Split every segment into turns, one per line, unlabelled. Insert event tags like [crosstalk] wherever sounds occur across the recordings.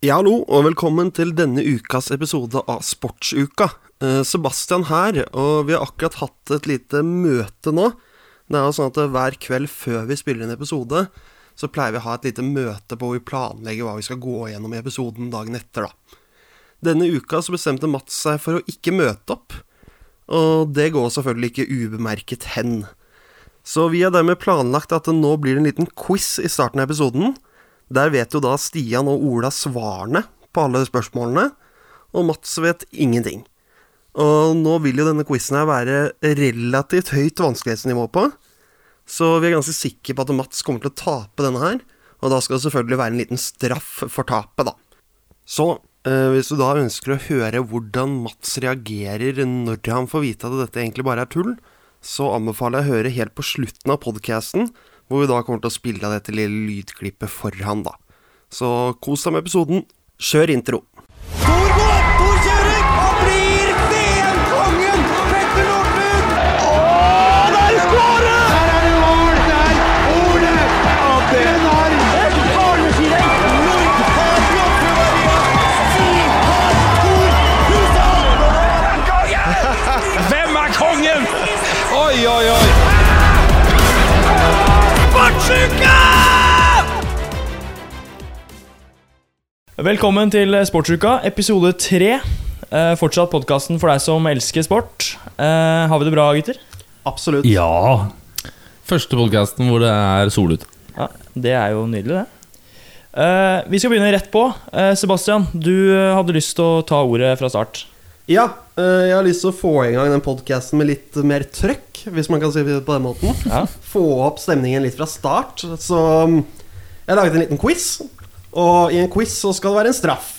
Ja, hallo, og velkommen til denne ukas episode av Sportsuka. Eh, Sebastian her, og vi har akkurat hatt et lite møte nå. Det er jo sånn at eh, hver kveld før vi spiller en episode, så pleier vi å ha et lite møte på hvor vi planlegger hva vi skal gå gjennom i episoden dagen etter, da. Denne uka så bestemte Mats seg for å ikke møte opp, og det går selvfølgelig ikke ubemerket hen. Så vi har dermed planlagt at det nå blir en liten quiz i starten av episoden. Der vet jo da Stian og Ola svarene på alle spørsmålene, og Mats vet ingenting. Og nå vil jo denne quizen her være relativt høyt vanskelighetsnivå på, så vi er ganske sikre på at Mats kommer til å tape denne her, og da skal det selvfølgelig være en liten straff for tapet, da. Så eh, hvis du da ønsker å høre hvordan Mats reagerer når han får vite at dette egentlig bare er tull, så anbefaler jeg å høre helt på slutten av podkasten, hvor vi da kommer til å spille av dette lille lydklippet for han, da. Så kos deg med episoden. Kjør intro.
Tor går! Tor kjører! Og blir VM-kongen! Petter Northug! Åh, der skårer! Der er det mål! Der Ole! Den har
Hvem er kongen? Oi, oi, oi. Velkommen til Sportsuka, episode tre. Eh, fortsatt podkasten for deg som elsker sport. Eh, har vi det bra, gutter?
Absolutt.
Ja. Første podkasten hvor det er sol ute.
Ja, Det er jo nydelig, det. Eh, vi skal begynne rett på. Eh, Sebastian, du eh, hadde lyst til å ta ordet fra start.
Ja, eh, jeg har lyst til å få i gang den podkasten med litt mer trøkk, hvis man kan si det på den måten.
Ja.
Få opp stemningen litt fra start. Så mm, jeg laget en liten quiz, og i en quiz så skal det være en straff.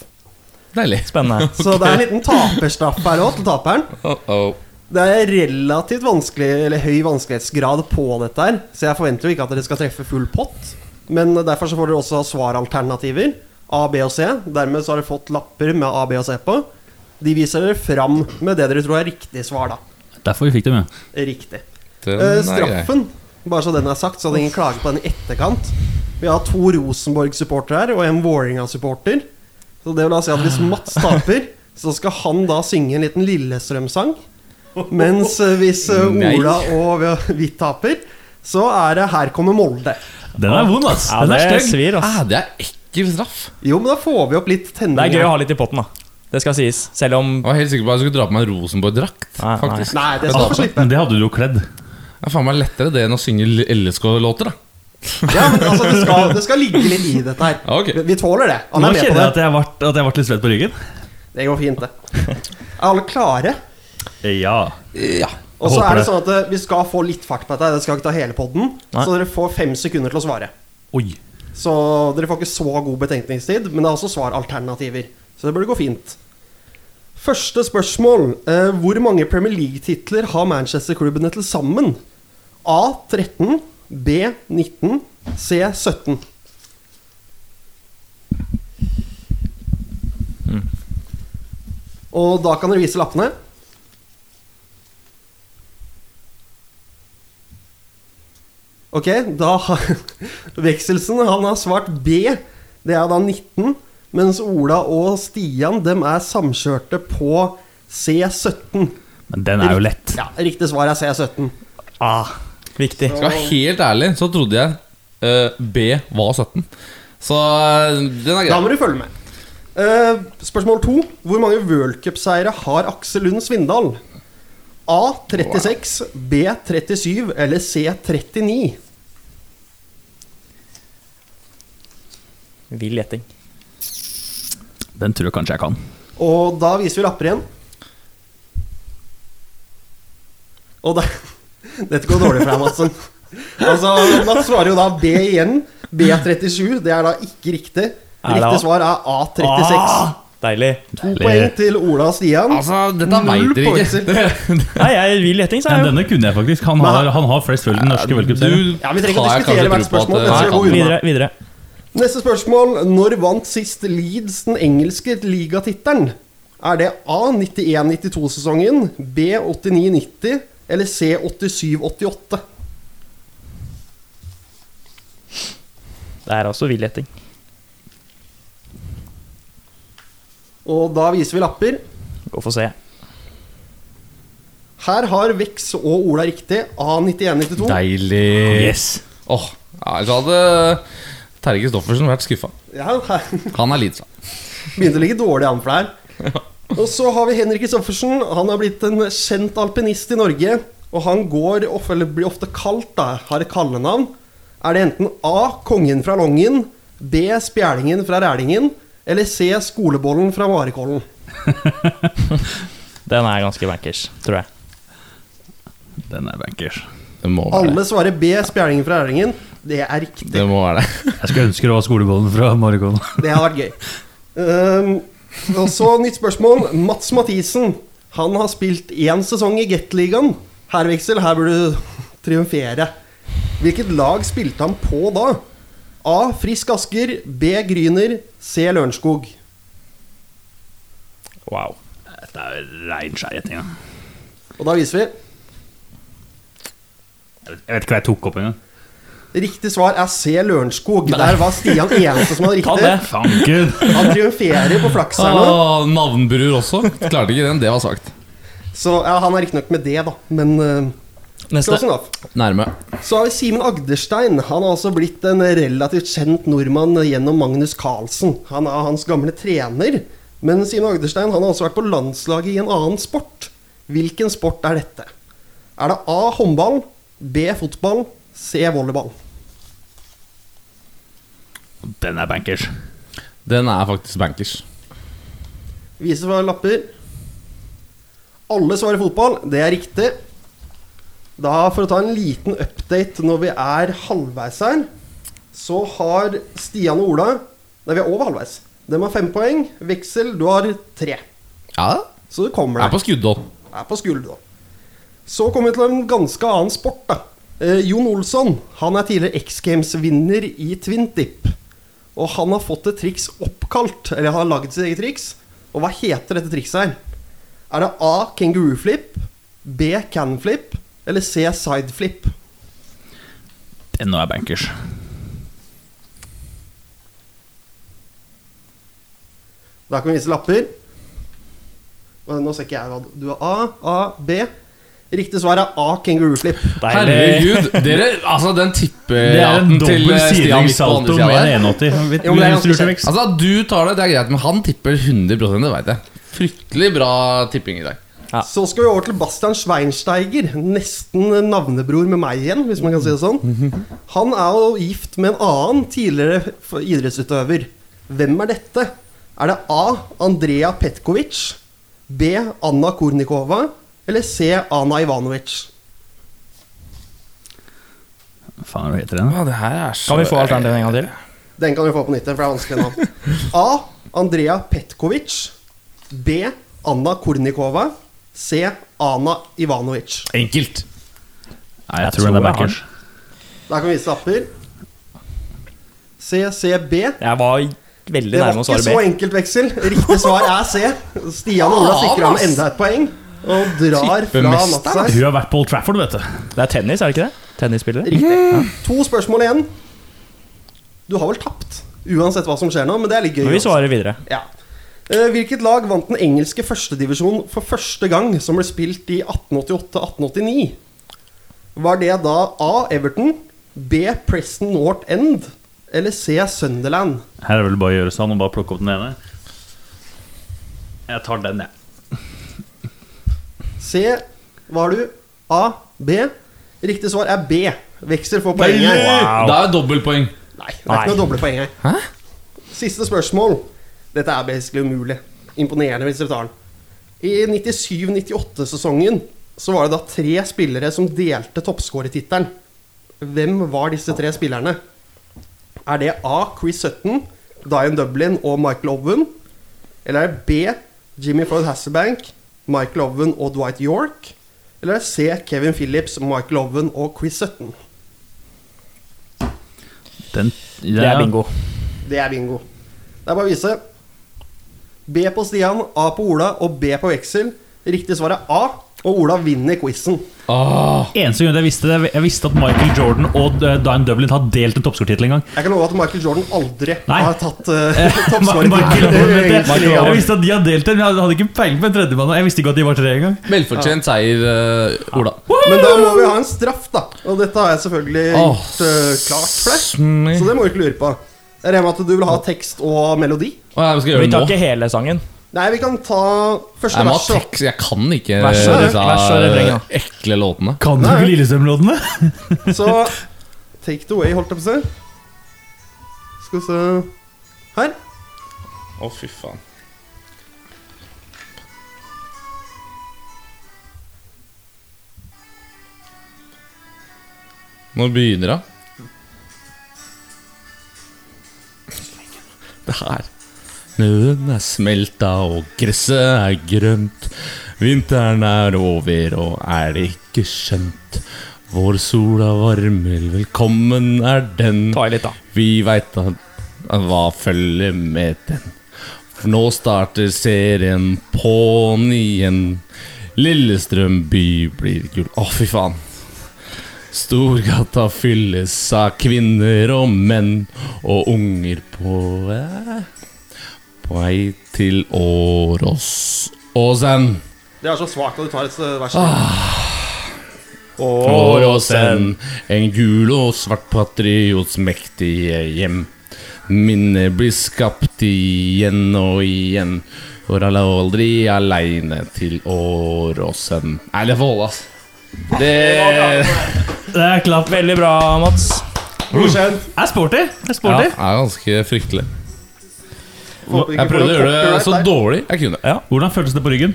Deilig.
Spennende.
Så det er en liten taperstraff her òg, til taperen.
Oh, oh.
Det er relativt vanskelig, eller høy vanskelighetsgrad på dette her, så jeg forventer jo ikke at dere skal treffe full pott. Men derfor så får dere også svaralternativer. A, B og C. Dermed så har dere fått lapper med A, B og C på. De viser dere fram med det dere tror er riktig svar, da.
Derfor vi fikk dem, ja.
Riktig. Eh, straffen, bare så den er sagt, så at ingen klager på den i etterkant. Vi har to Rosenborg-supportere her og en Vålerenga-supporter. Så det vil da si at hvis Mats taper, så skal han da synge en liten Lillestrøm-sang. Mens eh, hvis eh,
Nei.
Ola og vi- vi taper, så er det 'Her kommer Molde'.
[laughs] Den er vond, ass.
Ja,
Den er
det
stygg.
svir, ass.
Ah, det er ekkel straff.
Jo, men da får vi opp litt
Det
tenning.
er gøy å
her.
ha litt i potten, da. Det skal sies. Selv om
Jeg var helt sikker på at jeg skulle dra på meg Rosenborg-drakt.
Nei, nei.
Faktisk
Nei, det skal
Ja,
du få slippe.
Men det hadde du jo kledd.
Det er faen meg lettere det enn å synge LSK-låter, da.
Ja, men altså, det skal, det skal ligge litt i dette her.
Ja, ok.
Vi, vi tåler det. Han
Nå
er med
kjenner
på det.
jeg at jeg ble, at jeg ble litt svett på ryggen.
Det går fint, det. Er alle klare?
Ja.
Ja.
Og så
håper
er det
det.
sånn at eh, vi skal få litt fart på dette. Det skal ikke ta hele podden.
Nei.
Så dere får fem sekunder til å svare.
Oi.
Så dere får ikke så god betenkningstid, men det er også svaralternativer. Så det burde gå fint. Første spørsmål. Eh, hvor mange Premier League-titler har Manchester-klubbene til sammen? A 13, B 19, C 17. Og da kan dere vise lappene. Ok, da har [laughs] Vekselsen han har svart B. Det er da 19. Mens Ola og Stian dem er samkjørte på C17.
Men den er jo lett.
Ja, Riktig svar er C17.
ah, Viktig.
Skal være helt ærlig, så trodde jeg eh, B var 17. Så eh, den
Da
er grei.
må du følge med. Eh, spørsmål to. Hvor mange worldcupseiere har Aksel Lund Svindal? A 36, B 37 eller C 39?
Vill gjetting.
Den tror jeg kanskje jeg kan.
Og da viser vi lapper igjen. Og da [laughs] Dette går dårlig for deg, Madsen. Altså, Mats svarer jo da B igjen. B37. Det er da ikke riktig.
det
Riktig
A? Ah,
svar er A36.
Ah.
Deilig.
to poeng til Ola og Stian.
Altså, dette
Null
veit dere
poeng til-
ikke. [laughs]
Nei, jeg vil gjetting, sa
Men
jeg jo.
denne kunne jeg faktisk. Han har, han har flest følger i den norske worldcupserien.
Ja, vi trenger ikke diskutere hvert spørsmål, det
Nei,
ser god ut.
kan.
Videre. videre
Neste spørsmål. Når vant sist Leeds den engelske ligatittelen? Er det A 91-92-sesongen, B 89-90 eller C 87-88?
Det er også vill gjetting.
Og da viser vi lapper.
Gå for se.
Her har Vex og Ola riktig. A9192.
Deilig.
Yes.
Åh, ja, Ellers hadde Terje Kristoffersen vært skuffa.
Ja, her
Han er litt sånn.
begynte å ligge dårlig an for det her. Og så har vi Henrik Kristoffersen. Han har blitt en kjent alpinist i Norge. Og han går, of- eller blir ofte kalt, da, har et kallenavn. Er det enten A. Kongen fra Longyen, B. Spjælingen fra Rælingen, eller C. Skolebollen fra Marikollen?
Den er ganske bankers, tror jeg.
Den er bankers.
Det må være det.
Alle svarer B. Spjælingen fra Rælingen. Det er riktig.
Det må være det.
Jeg skulle ønske det var skolebollen fra Morgon.
Det har vært gøy. Um, og så nytt spørsmål. Mats Mathisen. Han har spilt én sesong i Gateligaen. Her, Veksel, her burde du triumfere. Hvilket lag spilte han på da? A. Frisk Asker. B. Gryner. C. Lørenskog.
Wow.
Dette er rein skjærgjetting. da.
Og da viser vi.
Jeg vet ikke hva jeg tok opp engang.
Riktig svar er C. Lørenskog. Der var Stian eneste som hadde
Ta
riktig.
det.
Fanken!
Han triumferer på flaks her nå.
Ah, Navnbror også. Klarte ikke den. Det var svakt.
Så ja, han er riktignok med det, da. Men uh,
Neste.
close enough.
Nærme.
Så har vi Simen Agderstein. Han har altså blitt en relativt kjent nordmann gjennom Magnus Carlsen. Han er hans gamle trener. Men Simen Agderstein han har også vært på landslaget i en annen sport. Hvilken sport er dette? Er det A. håndball, B. fotball, C. volleyball?
Den er bankers.
Den er faktisk bankers.
Viser fra lapper. Alle svarer fotball. Det er riktig. Da For å ta en liten update når vi er halvveis her, så har Stian og Ola Nei, vi er over halvveis. De har fem poeng. Veksel, du har tre.
Ja,
Så du kommer
jeg er
deg.
på skuddhold.
Er på skulder, da. Så kommer vi til en ganske annen sport, da. Eh, Jon Olsson han er tidligere X Games-vinner i Twintip. Og han har fått et triks oppkalt, eller har lagd sitt eget triks. Og hva heter dette trikset her? Er det A. Kangaroo flip, B. Can flip eller C. Side flip?
Den nå er bankers.
Da kan vi vise lapper. Og Nå ser ikke jeg hva du- du har. A, A, B. Riktig svar er A. Kangaroo flip.
Deilig.
Herregud, dere, altså den
Det er en
tipperaten til
dobbel
eh, Stian midt på
sidelingssalto
andre
med
sida der.
en 81.
Jo, men det er ganske kjent.
Altså, du tar det, det er greit, men han tipper 100 det veit jeg. Fryktelig bra tipping i dag.
Så skal vi over til Bastian Schweinsteiger, nesten navnebror med meg igjen, hvis man kan si det sånn. Han er jo gift med en annen tidligere f- idrettsutøver. Hvem er dette? Er det A. Andrea Petkovic, B. Anna Kornikova eller C. Ana Ivanovic?
Faen, hva heter den?
Ja, det her er så
Kan vi få alternativet en gang til?
Den kan vi få på nytt, igjen, for det er vanskelig navn. A. Andrea Petkovic, B. Anna Kornikova, C. Ana Ivanovic.
enkelt.
Nei, jeg tror den er
jeg har
bankers.
Der kan vi vise lapper. CCB.
Jeg var veldig
Det var
nærme å
ikke
svare
så
B. Ah,
enkelt veksel. Riktig svar er C. Stian og Ola
Faen,
sikrer ham
ass!
enda et poeng og drar fra
Tippemester.
natta.
Hun har vært på Old Trafford, vet du.
Det er tennis, er det ikke det? Tennisspillere?
Riktig. To spørsmål igjen. Du har vel tapt, uansett hva som skjer nå, men det er litt gøy.
Men vi
uansett.
svarer videre.
Ja. Eh, Hvilket lag vant den engelske førstedivisjonen for første gang, som ble spilt i 1888-1889? Var det da A. Everton, B. Preston North End eller C. Sunderland?
Her er det vel bare å gjøre sånn og bare plukke opp den ene. Jeg tar den, jeg.
C. Hva har du? A. B. Riktig svar er B. Veksel får poeng her.
Wow.
Det er dobbeltpoeng.
Nei, det er ikke noe doble poeng her.
Hæ?
Siste spørsmål. Dette er basically umulig. Imponerende hvis dere tar den. I 97-98-sesongen så var det da tre spillere som delte toppskårertittelen. Hvem var disse tre spillerne? Er det A. Chris Sutton, Dian Dublin og Michael Owen? Eller er det B. Jimmy Floyd Hasselbank, Michael Owen og Dwight York? Eller er det C. Kevin Phillips, Michael Owen og Chris Sutton?
Den,
Det er bingo.
Det er bingo. Det er bare å vise. B på Stian, A på Ola og B på Veksel. Riktig svar er A, og Olav vinner quizen.
Ah,
Eneste grunn til at jeg visste det, jeg visste at Michael Jordan og eh, Dine Dublin har delt en toppskortittel [laughs] en gang.
Jeg kan love at Michael Jordan aldri
Nei.
har tatt uh,
Eh,
[laughs] toppsvaret.
[laughs]
til-
Michael Jordan,
til-
vet jeg.
til-
Jeg visste at de hadde delt den, men jeg hadde ikke peiling på en tredjemann. og Jeg visste ikke at de var tre engang.
velfortjent seier, eh, Ola.
Men da må vi ha en straff, da. Og dette har jeg selvfølgelig
Åh,
gjort eh, klart for deg.
smi.
Så det må du ikke lure på. Jeg regner med at du vil ha tekst og melodi.
Å, jeg skal
Vi
gjøre det
tar
nå.
ikke hele sangen.
Nei, vi kan ta første
Jeg må ha
vers. da.
tekst, jeg kan ikke
Vær så-
disse
vær så refreng, da.
ekle låtene.
Kan du
Nei.
ikke Lillestrøm-låtene?
Så take it away, holdt jeg på å si. Skal vi se Her.
Å, fy faen. Nå begynner hun. Det her. Snøen er smelta og gresset er grønt. Vinteren er over og er det ikke skjønt. Vår sola varmer, velkommen er den.
Ta i litt, da.
Vi veit at at hva følger med den. For nå starter serien på'n igjen. Lillestrøm by blir gull. Å, fy faen. Storgata fylles av kvinner og menn og unger på eh, På vei til Åros. Åsen.
Det er så svakt at du tar et eh, vers.
Ah, Åråsen, en gul og svart patriots mektige hjem. Minner blir skapt igjen og igjen. For alle er aldri aleine til Åråsen. Nei, det får holde, ass. Det
[laughs] Det er klapp.
Veldig bra, Mats.
Godkjent.
Jeg er sporty. Jeg er
ja,
sporty.
er ganske fryktelig.
Håper ikke
Jeg
får
prøvde å
noe
gjøre det altså,
copyright
så
der.
dårlig jeg kunne.
Hvordan føles det på ryggen?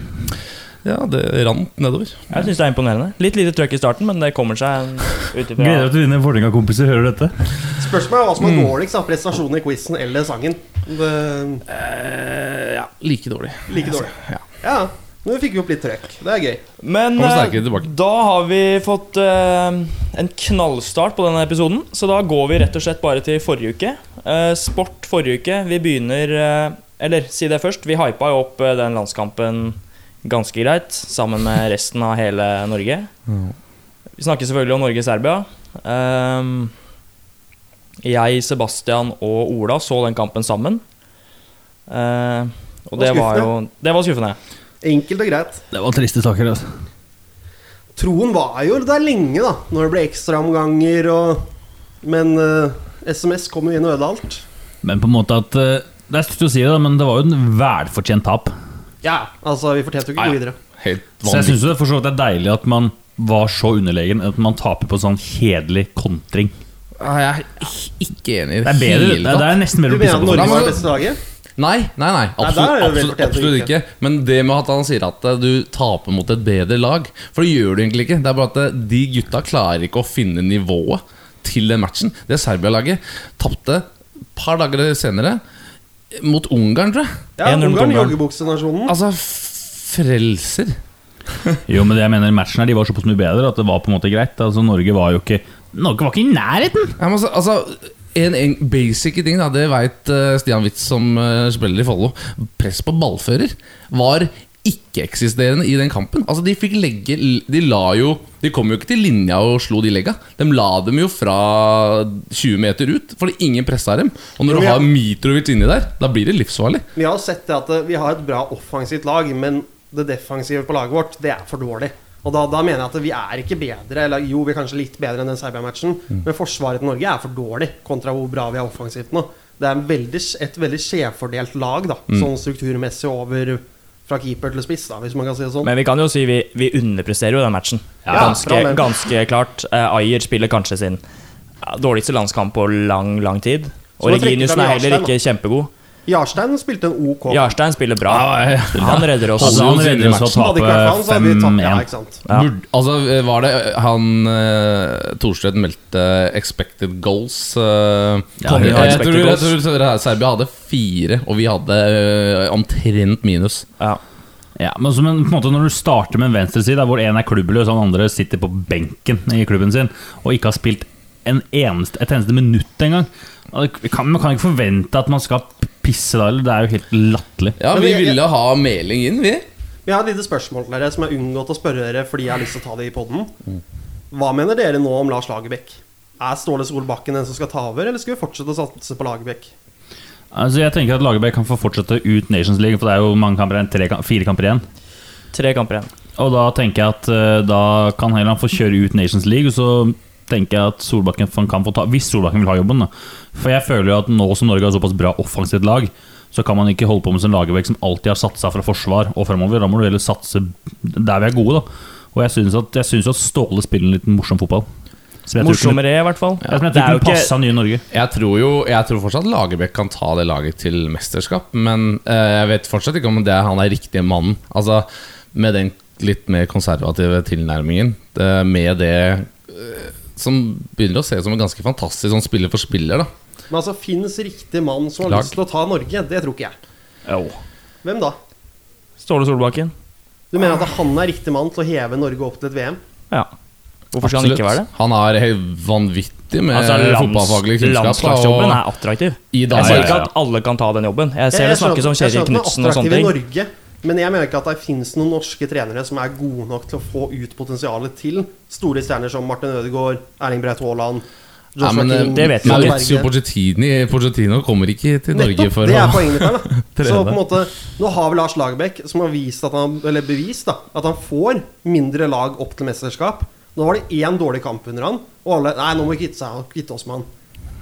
Ja, det rant nedover.
Jeg syns det er imponerende. Litt lite trøkk i starten, men det kommer seg ut ifra
Gleder deg til dine Vålerenga-kompiser hører dette.
Spørsmålet er hva som er
Mm.
dårligst av prestasjonen i quizen eller sangen. Det,
Eh, Ja, like dårlig. Altså,
like dårlig.
Ja.
Ja, nå fikk vi opp litt trøkk. Det er gøy.
Men
Kom
eh,
sterkere tilbake.
da har vi fått eh, en knallstart på denne episoden, så da går vi rett og slett bare til forrige uke. Eh, sport forrige uke. Vi begynner eh, Eller si det først, vi hypa jo opp eh, den landskampen ganske greit, sammen med resten av hele Norge.
Mm.
Vi snakker selvfølgelig om Norge-Serbia. Ehm, jeg, Sebastian og Ola så den kampen sammen. Eh, og det
Det var
var jo Det var skuffende.
Enkelt og greit.
Det var triste saker. altså
Troen var jo der lenge, da, når det ble ekstraomganger og Men eh, SMS kom jo inn og ødela alt.
Men på en måte at eh, Det er stygt å si det, da, men det var jo en velfortjent tap.
Ja, altså, vi fortjente jo ikke
Ja,
å
ja.
gå videre.
Helt
Så jeg
vanvittig.
syns det for så vidt er deilig at man var så underlegen at man taper på sånn kjedelig kontring.
Nei, Jeg er ikke enig i
Det er bedre
hele
det er, det er nesten
Du
bedre å
mener at
pisse på. folk.
Norge
men-
var det beste laget?
Nei, nei, nei, absolutt,
der er det vel
absolutt,
fortjent
absolutt ikke. Men det med at han sier at eh, du taper mot et bedre lag For det gjør du egentlig ikke. Det er bare at eh, de gutta klarer ikke å finne nivået til den matchen. Det Serbia-laget tapte et par dager senere mot Ungarn, tror jeg.
Ja,
1-0 mot
Ungarn,
Ungarn.
joggebuksenasjonen.
Altså, f- frelser.
Jo, men det jeg mener matchen her, de var såpass mye bedre at det var på en måte greit. Altså Norge var jo ikke Norge var ikke i nærheten!
Ja, men altså, altså en, en basic ting, da, det veit Stian Witz som eh, spiller i Follo. Press på ballfører var ikke-eksisterende i den kampen. Altså, de fikk legge De la jo De kom jo ikke til linja og slo de legga. De la dem jo fra 20 meter ut, fordi ingen pressa dem. Og når
Jo,
du
ja.
har Mitrovic inni der, da blir det livsfarlig.
Vi har sett det at eh, vi har et bra offensivt lag, men det defensive på laget vårt, det er for dårlig. Og da, da mener jeg at vi er ikke bedre, eller jo, vi er kanskje litt bedre enn den Serbia-matchen,
Mm.
men forsvaret til Norge er for dårlig kontra hvor bra vi er offensivt nå. Det er en veldig, et veldig skjevfordelt lag, da,
Mm.
sånn strukturmessig over fra keeper til spiss, da, hvis man kan si det sånn.
Men vi kan jo si vi, vi underpresterer jo den matchen.
Ja, bra,
ganske,
men-
ganske klart. Eh, Ayer spiller kanskje sin ja, dårligste landskamp på lang, lang tid.
Så
Og
da trekker
Reginiussen
de
er heller
Jarstein,
ikke kjempegod.
Jarstein spilte en OK.
Jarstein spiller bra. Han redder oss.
Altså, han
Holder jo
redder oss å
Hadde ikke vært for han, så hadde vi
tape
tapt. Ja,
5-1.
ikke sant.
Ja.
Burde, altså, eh, var det eh, han uh, Thorstvedt meldte expected goals? eh,
Ja, hun har
jeg, jeg,
expected
tror, jeg
goals.
tror Ser- Serbia hadde fire, og vi hadde eh, omtrent minus.
Ja.
Ja, men så- men på en måte når du starter med en venstreside der hvor én er klubbløs og den andre sitter på benken i klubben sin og ikke har spilt en eneste, et eneste minutt engang og det kan, Man kan ikke forvente at man skal pisse da, eller det er jo helt latterlig.
Ja,
Men
vi
jeg-
ville ha Meling inn, vi.
Vi har et lite spørsmål til dere som er unngått å spørre dere fordi jeg har lyst til å ta det i poden.
Mm.
Hva mener dere nå om Lars Lagerbäck? Er Ståle Solbakken den som skal ta over, eller skal vi fortsette å satse på Lagerbäck?
Altså, jeg tenker at Lagerbäck kan få fortsette ut Nations League, for det er jo mange kamper igjen, tre, kam- fire kamper igjen.
Tre kamper igjen.
Og da tenker jeg at eh, da kan Høyland få kjøre ut Nations League, og så tenker jeg at Solbakken fan- kan få ta Hvis Solbakken vil ha jobben, da. For jeg føler jo at nå som Norge har såpass bra offensivt lag, så kan man ikke holde på med sånn Lagerbäck som alltid har satsa fra forsvar og framover. Da må du heller satse der vi er gode, da. Og jeg syns at, jeg synes jo at Ståle spiller en litt morsom fotball. Som jeg tror kunne-
Morsommere, i hvert fall.
Ja, som jeg
Det er
tror
jo
kunne
ikke-
passa nye Norge.
Jeg tror jo Jeg tror fortsatt Lagerbäck kan ta det laget til mesterskap, men eh, jeg vet fortsatt ikke om det er han er riktige mannen. Altså, med den litt mer konservative tilnærmingen, eh, med det eh, som begynner å se ut som en ganske fantastisk sånn spiller for spiller, da.
Men altså, fins riktig mann som har
Lag.
lyst til å ta Norge? Det tror ikke jeg. Hvem da?
Ståle Solbakken.
Du mener at han er riktig mann til å heve Norge opp til et VM?
Ja. Hvorfor skal han ikke være det?
Han har helt vanvittig med
Altså,
fotballfaglig
lands,
kunnskap. da, og
landslagsjobben er attraktiv.
i
Jeg
dag,
sier
ja,
ikke
ja.
at alle kan ta den jobben.
Jeg-
Jeg ser det
jeg skjønner-
snakkes
jeg
om Kjetil
skjønner at den er
Knutsen og
attraktiv
sånne
i
ting.
Norge, men jeg mener ikke at det fins noen norske trenere som er gode nok til å få ut potensialet til store stjerner som Martin Ødegaard, Erling Braut Haaland
ja,
Joshua
men, eh,
King,
det vet vi
Jan
ikke.
Maurizio
Berge.
Pochettini, Pochettino kommer ikke til Norge
Nettopp,
for
det
å
er poenget mitt her, da. Så
[laughs]
trene.
på en måte, nå har vi Lars Lagerbäck, som har vist at han, eller bevist da, at han får mindre lag opp til mesterskap. Nå var det én dårlig kamp under han, og alle Nei, nå må vi kvitte, seg, kvitte oss med han.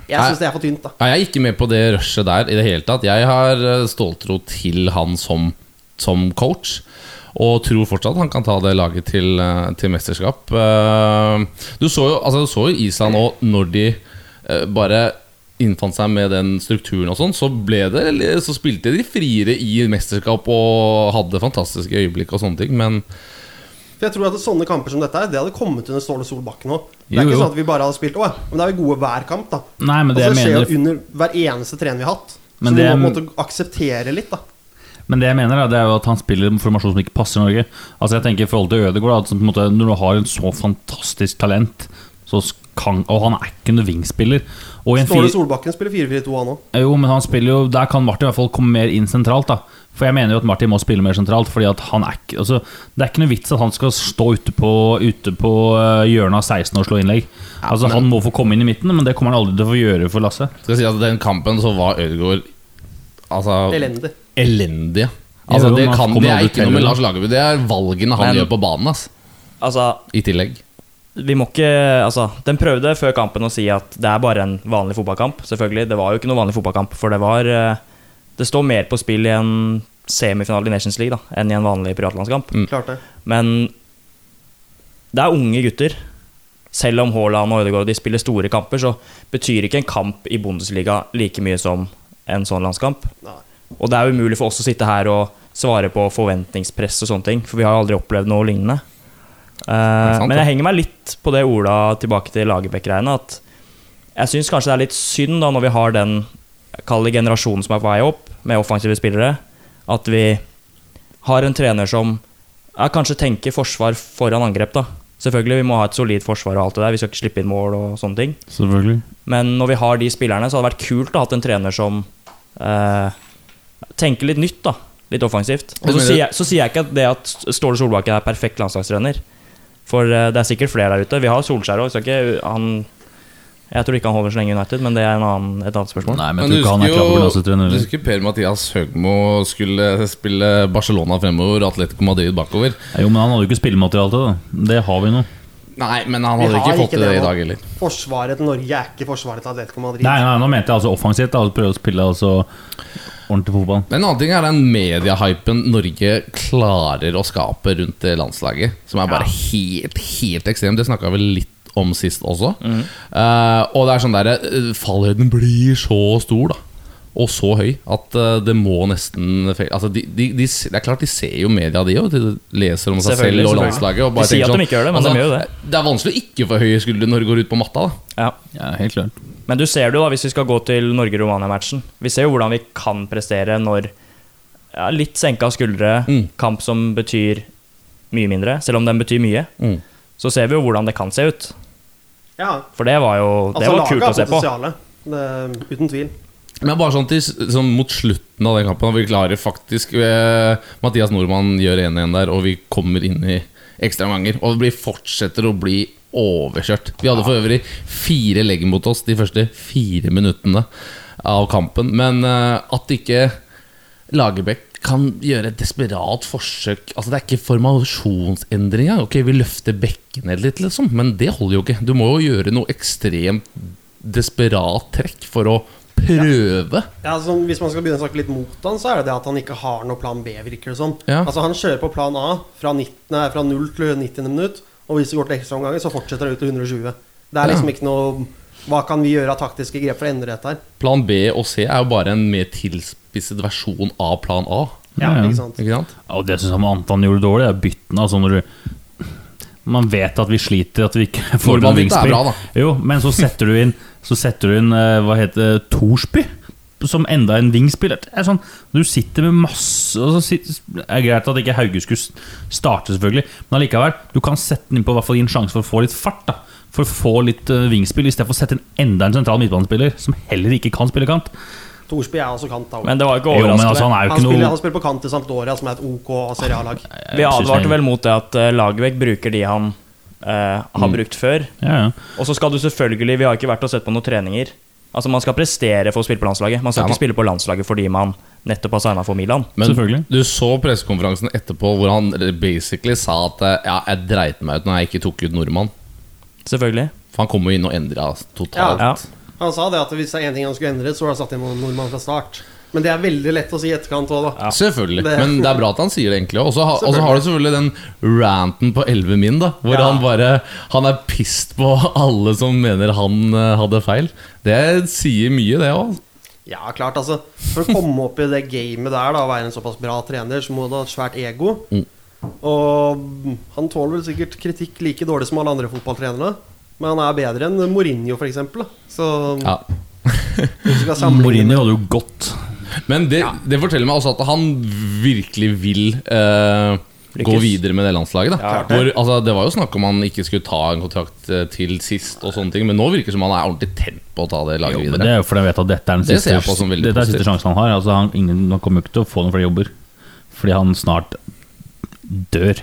Jeg
Nei.
syns det er for tynt, da.
Ja, jeg er ikke med på det rushet der i det hele tatt. Jeg har eh, ståltro til han som, som coach. Og tror fortsatt han kan ta det laget til, eh, til mesterskap. Eh, Du så jo, altså, du så jo Island og når de eh, bare innfant seg med den strukturen og sånn, så, ble det, eller så spilte de friere i mesterskap og hadde fantastiske øyeblikk og sånne ting, men
For jeg tror at sånne kamper som dette her, det hadde kommet under Ståle Solbakken òg. Det
Jo,
er ikke
jo.
sånn at vi bare hadde spilt Å, men da er vi gode hver kamp, da.
Nei, men det
altså, det skjer
jeg
jo
mener
under hver eneste trener vi har hatt.
Men
så vi må
det
på en
er-
måte akseptere litt, da.
Men det jeg mener da, det er jo at han spiller en formasjon som ikke passer Norge. Altså jeg tenker i forhold til Ødegaard da, at som på en måte, Når du har en så fantastisk talent så sk- kan, Og han er ikke noen wingspiller. Og i en
Ståle
fire,
Solbakken spiller 4-4-2 han òg.
jo, men han spiller jo, der kan Martin i hvert fall komme mer inn sentralt. da For jeg mener jo at Martin må spille mer sentralt. Fordi at han er ikke altså, Det er ikke noe vits at han skal stå ute på, ute på øh, hjørnet av 16 og slå innlegg. Altså Han må få komme inn i midten, men det kommer han aldri til å få gjøre for Lasse.
skal jeg si at den kampen så var Ødegaard altså,
Elendig.
elendige. Altså,
Jo,
det,
men
kan,
kommer
det er
aldri
ikke
til
noe med
det.
Lars Lagerbäck. Det er valgene han
Men-
gjør på banen. Ass,
Altså,
I tillegg.
vi må ikke Altså, den prøvde før kampen å si at det er bare en vanlig fotballkamp. Selvfølgelig. Det var jo ikke noen vanlig fotballkamp, for det var eh, Det står mer på spill i en semifinale i Nations League da enn i en vanlig privatlandskamp.
Mm.
Klart det.
Men det er unge gutter. Selv om Haaland og Ødegaard de spiller store kamper, så betyr ikke en kamp i Bundesliga like mye som en sånn landskamp.
Nei.
Og det er jo umulig for oss å sitte her og svare på forventningspress og sånne ting, for vi har jo aldri opplevd noe lignende. Eh,
sant,
men
det.
jeg henger meg litt på det Ola tilbake til Lagerbäck-greiene, at jeg syns kanskje det er litt synd da når vi har den kalde generasjonen som er på vei opp, med offensive spillere, at vi har en trener som ja, kanskje tenker forsvar foran angrep, da. Selvfølgelig, vi må ha et solid forsvar og alt det der, vi skal ikke slippe inn mål og sånne ting.
Selvfølgelig
Men når vi har de spillerne, så hadde det vært kult å ha hatt en trener som eh, tenker litt nytt, da. Litt offensivt.
Du
Og så
mener-
sier, jeg, så sier jeg ikke at det at Ståle Solbakken er perfekt landslagstrener. For eh, det er sikkert flere der ute. Vi har Solskjær òg. Jeg tror ikke han holder så lenge i United, men det er en annen, et annet spørsmål.
Nei, men
Men
jeg tror
du
ikke han er
husker
klar for
jo-
landslagstrener.
Du
heller.
husker Per-Mathias Høgmo skulle spille Barcelona fremover og Atletico Madrid bakover.
Jo, men han hadde jo ikke spillemateriale til det. da. Det har vi nå.
Nei, men han
Vi
hadde
har
ikke fått til det i
nå.
dag heller.
Forsvaret til Norge er ikke forsvaret til Atletico Madrid.
Nei, nei, nå mente jeg altså offensivt. Da. Prøve å spille altså ordentlig fotball.
En annen ting er den mediehypen Norge klarer å skape rundt det landslaget. Som er bare helt, helt ekstrem. Det snakka vi litt om sist også.
Mhm.
Eh, og det er sånn derre eh, Fallhøyden blir så stor, da. Og så høy at eh, det må nesten fe- altså, de, de, de, s- Det er klart de ser jo media, de òg. De leser om seg
Selvfølgelig,
selv og
selvfølgelig.
landslaget. Og
De sier
tenker sånn, altså,
at de ikke gjør det, men de gjør jo det.
Det er vanskelig å ikke få høye skuldre når du går ut på matta. da
Ja.
Ja, helt klart.
Men du ser det jo da, hvis vi skal gå til Norge-Romania-matchen. Vi ser jo hvordan vi kan prestere når ja, litt senka skuldre,
Mm.
kamp som betyr mye mindre, selv om den betyr mye.
Mm.
Så ser vi jo hvordan det kan se ut.
Ja,
For det var jo det
altså
var kult å
laget
se
har
på.
potensialet. Det- Uten tvil.
Men bare sånn til sånn mot slutten av den kampen at Vi klarer faktisk eh, Mathias Nordmann gjør 1-1 der, og vi kommer inn i ekstraomganger. Og vi blir- fortsetter å bli overkjørt. Vi hadde for øvrig fire legg mot oss de første fire minuttene av kampen. Men eh, at ikke Lagerbäck kan gjøre et desperat forsøk Altså Det er ikke formasjonsendringer. Ok, vi løfter bekkene litt, liksom, men det holder jo ikke. Du må jo gjøre noe ekstremt desperat trekk for å prøve.
Ja, altså, hvis man skal begynne å snakke litt mot han, så er det det at han ikke har noe plan B, virker det som.
Ja.
Altså, han kjører på plan A fra, 19, nei, fra 0 til 90 minutt, og hvis det går til ekstraomganger, så fortsetter det ut til 120. Det er liksom
Ja.
ikke noe Hva kan vi gjøre av taktiske grep for å endre dette her?
Plan B og C er jo bare en mer tilspisset versjon av plan A.
Ja,
Ja, ja.
ikke sant?
Ikke sant?
Ja, og det syns jeg Anton gjorde dårlig, er byttene. Altså når du man vet at vi sliter, at vi ikke [laughs]
Nordmann
får noen
bytte er
vingspill.
bra, da.
Jo, men så setter du inn Så setter du inn, eh, hva heter det, Torsby? Som enda en vingspiller. Det er sånn, du sitter med masse og så sitter, Det er greit at ikke Hauge skulle s- starte, selvfølgelig, men allikevel. Du kan sette den inn på hvert fall gi en sjanse for å få litt fart. da For å få litt eh, vingspill, istedenfor å sette inn enda en sentral midtbanespiller som heller ikke kan spille kant.
Thorsby er også kant, da.
Men det var jo ikke
Jo, men
overraskende.
altså, han er jo
Han
ikke
spiller,
noe
han spiller på kant i Sampdoria, som er et OK serialag.
Vi
Jeg synes
advarte
det-
vel mot det at eh, Lagerbäck bruker de han eh, har brukt før.
Ja, ja.
Og så skal du selvfølgelig Vi har ikke vært og sett på noen treninger. Altså Man skal prestere for å spille på landslaget. Man skal
Ja, man-
ikke spille på landslaget fordi man nettopp har signa for Milan.
Selvfølgelig.
du så pressekonferansen etterpå hvor han basically sa at eh, ja, jeg dreit meg ut når jeg ikke tok ut nordmann.
Selvfølgelig.
For han kom jo inn og endra totalt.
Ja.
Han sa det at hvis det er én ting han skulle endret, så var det satt inn noen nordmann fra start. Men det er veldig lett å si i etterkant òg, da.
Selvfølgelig.
Det-
Men det er bra at han sier det, egentlig. Og så ha- og så har du selvfølgelig den ranten på 11 min, da. Hvor han bare Han er pissed på alle som mener han eh, hadde feil. Det sier mye, det òg.
Ja, klart, altså. For å komme opp i det gamet der, da, og være en såpass bra trener, så må du ha et svært ego. Og han tåler vel sikkert kritikk like dårlig som alle andre fotballtrenere. Men han er bedre enn Mourinho, f.eks. Så
Ja.
hvis du skal sammenligne
Mourinho hadde jo godt
Men det, det forteller meg også at han virkelig vil eh, gå
Lykkes.
videre med det landslaget. Da.
Ja, klart det.
Hvor, altså, det var jo snakk om han ikke skulle ta en kontrakt eh, til sist, og sånne ting men nå virker det som han er ordentlig tent på å ta det laget
Jo, men
videre.
det er jo fordi jeg vet at dette er den
Det ser
siste,
jeg på som veldig
dette er siste
positivt.
sjansen han har. Altså, han, ingen, han kommer jo ikke til å få noen flere jobber. Fordi han snart dør.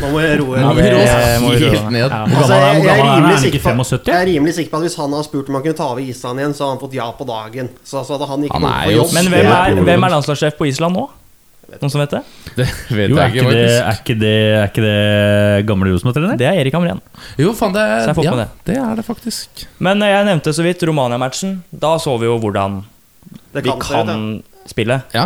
Nå må jeg roe
Nå
roe-
vil
det
Ross
må vi
[laughs] helt
gjøre.
ned.
Hvor
Altså, jeg,
gammel er han? Hvor
jeg,
gammel
er
er han? Er
rimelig
han
sikker
ikke
på, jeg
75?
er rimelig sikker på at hvis han hadde spurt om han kunne ta over Island igjen, så hadde han fått ja på dagen. Så, så hadde han ikke
Han
noe
er
for
jo
jobb.
Men hvem er,
Ja.
hvem er landslagssjef på Island nå? Noen som vet det?
Det vet
Jo, er
jeg ikke,
ikke det,
faktisk.
er ikke det, er ikke det gamle Rosenborg trener?
Det er Erik Hamren.
Jo, faen, det,
Så jeg får på
ja,
det.
det er det faktisk.
Men eh, jeg nevnte så vidt Romania-matchen. Da så vi jo hvordan
Det
vi
kan se ut,
kan spille.
Ja.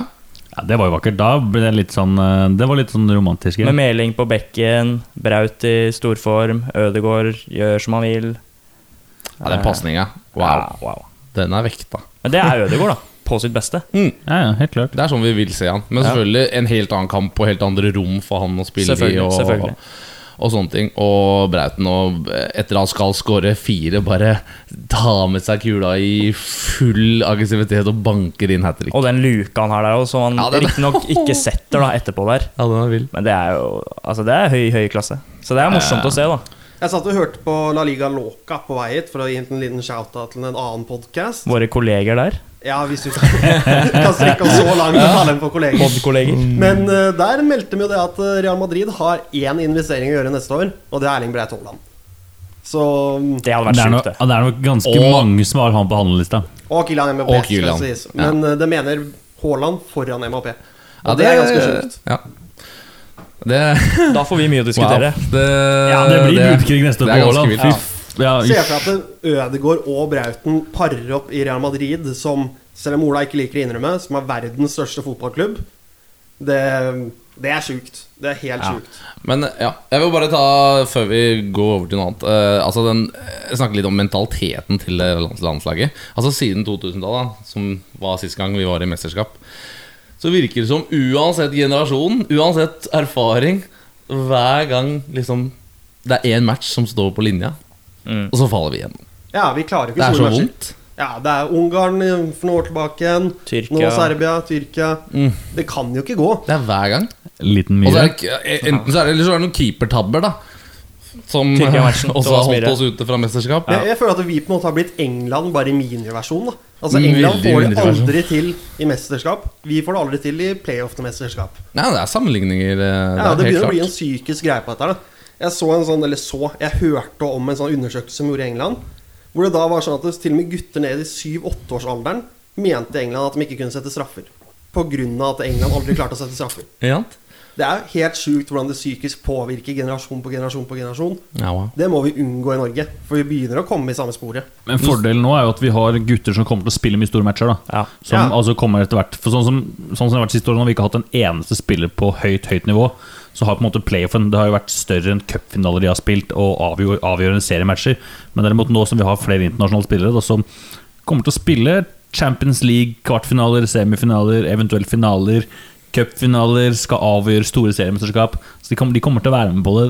Ja, det var jo vakkert. Da ble det litt sånn eh, Det var litt sånn romantisk.
Med
igjen.
Meling på bekken, Braut i storform, Ødegaard gjør som han vil.
ja, den pasninga.
Ja,
Wow.
wow.
Den er vekta.
Men det er Ødegaard, da. På sitt beste.
Ja, ja, helt klart.
Det er sånn vi vil se han. Men
Ja.
selvfølgelig en helt annen kamp og helt andre rom for han å spille i.
Selvfølgelig,
Og,
selvfølgelig.
og sånne ting. Og Brauten, og etter at han skal skåre fire, bare tar med seg kula i full aggressivitet og banker inn hat trick.
Og den luka han har der, også, som han
Ja, den-
riktignok ikke setter da etterpå der.
Ja, den er vill.
Men det er jo altså det er høy, høy klasse. Så det er morsomt å se, da.
ja. Jeg satt og hørte på La Liga Loca på vei hit for å gi en liten shout-out til en annen podkast.
Våre kolleger der.
Ja, hvis du kan [laughs] strekke oss så langt og kalle dem for kolleger.
Podkolleger.
Men eh, der meldte vi jo det at eh, Real Madrid har én investering å gjøre neste år, og det er Erling Breit Haaland. Så
Det hadde
Det
vært
er, nok,
sjukt, det.
det er nok ganske
Og-
mange som har han på handlelista.
Og Kylian MAP,
Og
skal
Kylian,
det sies.
ja.
Men eh, det mener Haaland foran MAP. Og det er ganske sjukt.
Ja. Det
Da får vi mye å diskutere.
Det,
Ja, det blir budkrig neste
det
år
er
på
ganske
Haaland.
vilt.
Fy f- Ja,
Se
uff.
for deg at Ødegaard og Brauten parer opp i Real Madrid, som selv om Ola ikke liker å innrømme, som er verdens største fotballklubb. Det, det er sjukt. Det er helt sjukt.
Men ja, jeg vil bare ta, før vi går over til noe annet eh, Altså den, eh, Snakke litt om mentaliteten til det lands- landslaget. Altså Siden 2000-tallet, da, som var sist gang vi var i mesterskap, så virker det som uansett generasjon, uansett erfaring Hver gang liksom det er én match som står på linja, og så faller vi igjennom.
Ja, vi klarer
Det
ikke
er
store
så
matcher.
vondt.
Ja, det er Ungarn for noen år tilbake igjen.
Tyrkia.
Nå Serbia, Tyrkia.
Mm.
Det kan jo ikke gå.
Det eh, er hver gang.
Liten
Og så
myre.
er det, enten så er det, eller så er det noen keepertabber, da. som eh, [laughs]
Tyrkia-matchen,
også har
Thomas
holdt
Myhre.
oss ute fra mesterskap.
Ja.
Ja.
Jeg, jeg føler at vi på en måte har blitt England bare i miniversjon. da Altså
Mm,
England
veldig
får det
miniversjon.
aldri til i mesterskap. Vi får det aldri til i playoff til mesterskap.
Nei, det er sammenligninger. eh,
Ja,
det
Det
er helt
begynner å bli en
klart.
psykisk greie på dette. her, da. Jeg så en sånn, eller så, jeg hørte om en sånn undersøkelse som gjorde i England. Hvor det da var sånn at det, til og med gutter ned i 7-8-årsalderen mente i England at de ikke kunne sette straffer. På grunn av at England aldri klarte å sette straffer.
Ja.
Det er jo helt sjukt hvordan det psykisk påvirker generasjon på generasjon på generasjon.
Ja, wow.
Det må vi unngå i Norge, for vi begynner å komme i samme sporet.
Men fordelen nå er jo at vi har gutter som kommer til å spille mye store matcher. da
Ja.
Som
Ja.
altså kommer etter hvert For sånn som, sånn som det har vært siste året, når vi ikke har hatt en eneste spiller på høyt høyt nivå, så har på en måte playoffen Det har jo vært større enn cupfinaler de har spilt, og avgjør, avgjørende seriematcher. Men derimot nå som vi har flere internasjonale spillere da, som kommer til å spille Champions League, kvartfinaler, semifinaler, eventuelt finaler, cupfinaler, skal avgjøre store seriemesterskap Så de, kommer- de kommer til å være med på det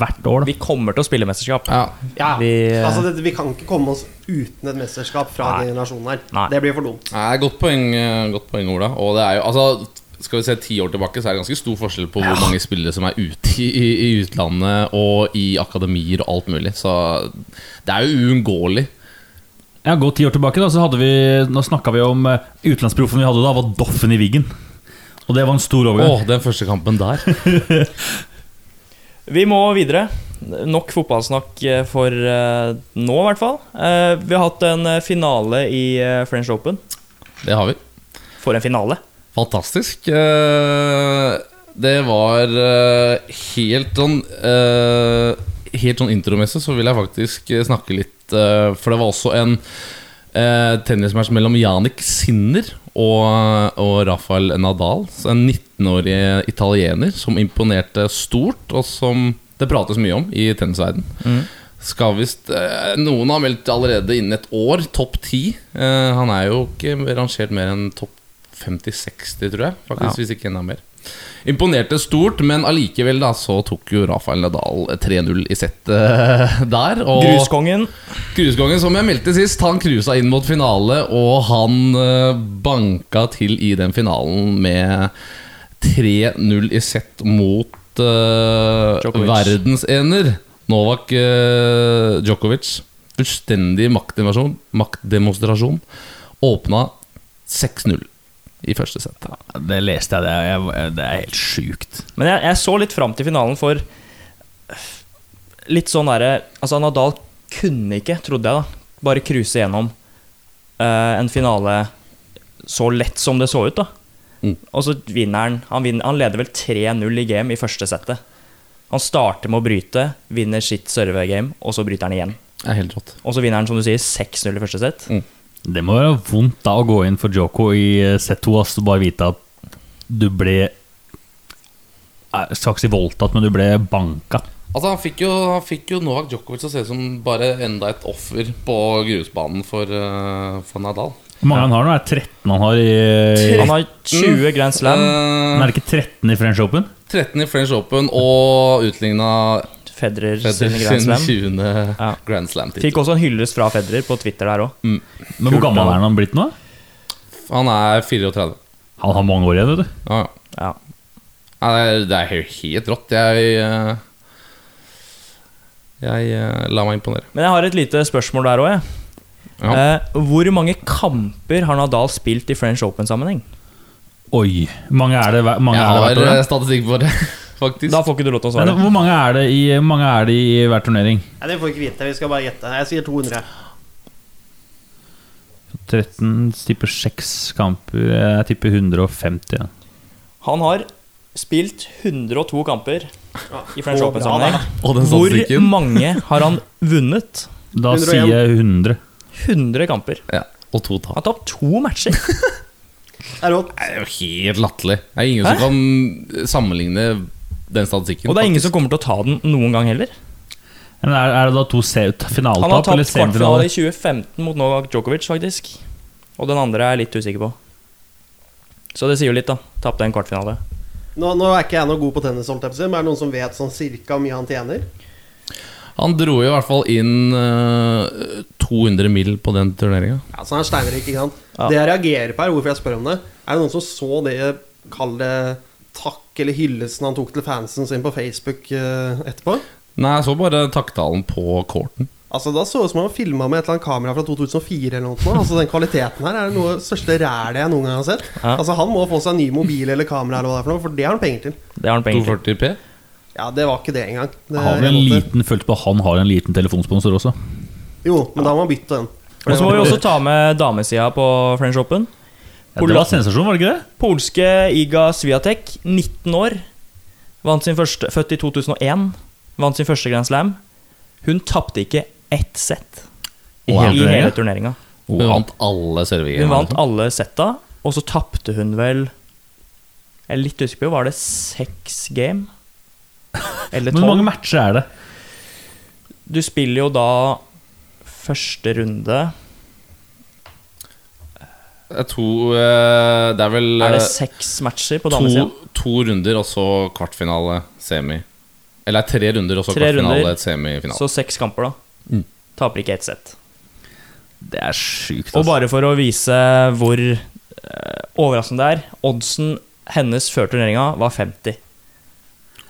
hvert år. da
[laughs] Vi kommer til å spille mesterskap.
ja.
Ja,
Vi, eh,
altså det, vi kan ikke komme oss uten et mesterskap fra
Nei.
den generasjonen her.
Nei.
Det blir for dumt.
Nei, godt poeng, eh, godt poeng, Ola. Og det er jo, altså, skal vi se ti år tilbake, så er det ganske stor forskjell på hvor mange spillere som er ute i, i, i utlandet og i akademier og alt mulig. Så det er jo uunngåelig.
Ja, Gå ti år tilbake, da, så hadde vi Nå snakka vi om eh, utenlandsproffen vi hadde da, var Doffen i Wiggen. Og det var en stor
Å,
overgang.
den første kampen der.
Vi må videre. Nok fotballsnakk eh, for eh, nå, i hvert fall. Eh, Vi har hatt en eh, finale i eh, French Open.
[laughs] Det har vi.
For en finale!
Fantastisk. Eh, Det var eh, helt sånn eh, Helt sånn intromessig så vil jeg faktisk eh, snakke litt eh, For det var også en eh, tennismatch mellom Janik Sinner og, og Rafael Nadal. Så En 19-årig italiener som imponerte stort, og som det prates mye om i tennisverdenen. Skal visst eh, Noen har meldt allerede innen et år topp ti. Eh, han er jo ikke rangert mer enn topp 50-60, tror jeg. Faktisk, Hvis ikke enda mer. Imponerte stort, men allikevel da så tok jo Rafael Nadal 3-0 i settet eh, der. og-
Gruskongen.
Cruisekongen, som jeg meldte sist, han cruisa inn mot finale, og han eh, banka til i den finalen med 3-0 i sett mot eh,
Djokovic.
verdensener Novak eh, Djokovic. Fullstendig maktdemonstrasjon. maktdemonstrasjon. Åpna 6-0 i første sett.
Det leste jeg, det, er- jeg, det er helt sjukt.
Men jeg, jeg så litt fram til finalen for eh, Litt sånn derre Altså, Nadal kunne ikke, trodde jeg, da, bare cruise gjennom eh, en finale så lett som det så ut, da.
Mm.
Og så vinner han. Han, vinner, han leder vel 3-0 i game i første settet. Han starter med å bryte, vinner sitt servegame, og så bryter han igjen.
Det er helt rått.
Og så vinner han, som du sier, 6-0 i første sett.
Det må være vondt da å gå inn for Joko i eh, Z2 og bare vite at du ble eh, Straks i voldtatt, men du ble banka.
Altså Han fikk jo, han fikk jo Novak Djokovic til å se ut som bare enda et offer på grusbanen for, eh, for Nadal.
Hvor mange han har nå? Er det 13 han har i
Han har 20 Grand Slam.
Eh,
Men Er det ikke 13 i French Open?
13 i French Open og utligna
Federer
sin
sine Grand Slam.
20.
Ja.
Grand Slam-tittel.
Fikk også en hyllest fra Federer på Twitter der òg.
Men Hvor gammel er han blitt nå?
Han er 34.
Han har mange år igjen, vet du.
Ja, ja.
Ja.
Ja, det er- det er helt- helt rått. Jeg eh, Jeg eh, la meg imponere.
Men jeg har et lite spørsmål der òg, jeg.
Ja.
Eh, hvor mange kamper har Nadal spilt i French Open-sammenheng?
Oi. Mange er det, hver- mange
Jeg
er det
har
hvert år? da?
eh, statistikk på det, [laughs] faktisk.
Da får ikke du lov til å
Men
svare.
hvor mange er det i, hvor mange er det i hver turnering?
Nei, det får vi ikke vite. Vi skal bare gjette. Jeg sier 200.
13 tipper 6 kamper. Jeg tipper 150. ja.
Han har spilt 102 kamper i French
Å,
Open-sammenheng.
og den
Hvor
statistikken.
mange har han vunnet?
Da
101.
sier jeg 100.
100 kamper.
Ja, og to
Han
tap.
har tapt to matcher.
[laughs]
Det er rått.
Det er jo helt latterlig. Det er ingen som
Hæ?
kan eh, sammenligne den statistikken.
Og det er ingen
faktisk.
som kommer til å ta den noen gang heller.
Men er, er det da to se
Han har
finaletap eller
tapt kvartfinale i
semifinale?
2015 mot Novak Djokovic, faktisk. Og den andre er jeg litt usikker på. Så det sier jo litt, da. Tapte en kvartfinale.
Nå, nå er ikke jeg noe god på tennis, holdt jeg på å si, men er det noen som vet sånn cirka hvor mye han tjener?
Han dro jo i hvert fall inn eh, 200 mil på den turneringa.
Ja, så han er steinrik, ikke sant?
Ja.
Det jeg reagerer på her, hvorfor jeg spør om det, er det noen som så det Kall det takk eller hyllesten han tok til fansen sin på Facebook eh, etterpå?
Nei, jeg så bare takktalen på courten.
Altså Da så det ut som han filma med et eller annet kamera fra 2004. eller noe sånt nå. Altså Den kvaliteten her er noe av det største rælet jeg noen gang har sett.
Ja.
Altså Han må få seg en ny mobil eller kamera, eller hva det er for noe for det har han penger til.
Det har han penger til.
240P.
Ja, Det var ikke det engang. Det,
Har vel en
jeg måtte-
liten følt på han har en liten telefonsponsor også.
Jo, men da må han bytte den. For
Og
det
så må
var-
vi også ta med damesida på French Open.
Ja, det var sensasjon, var det ikke det?
Polske Iga Swiatek, 19 år, vant sin første, født i 2001, vant sin første Grand Slam. Hun tapte ikke ett sett
I
i
hele
hele turneringa.
turneringen?
Hun vant alle serveringer.
Hun vant alle setta, og så tapte hun vel Jeg er litt usikker på, var det seks
[laughs]
game? Eller
Men hvor mange
tolv?
matcher er det?
Du spiller jo da første runde
Jeg tror eh, Det er vel
Er det
eh,
seks matcher på
to,
damesida?
to runder, og så kvartfinale, semi. Eller tre runder, og så
Tre runder.
kvartfinale, semifinale.
Så seks kamper, da. Taper ikke ett sett.
Det er sjukt.
Og
Altså.
bare for å vise hvor eh, overraskende det er Oddsen hennes før turneringa var 50.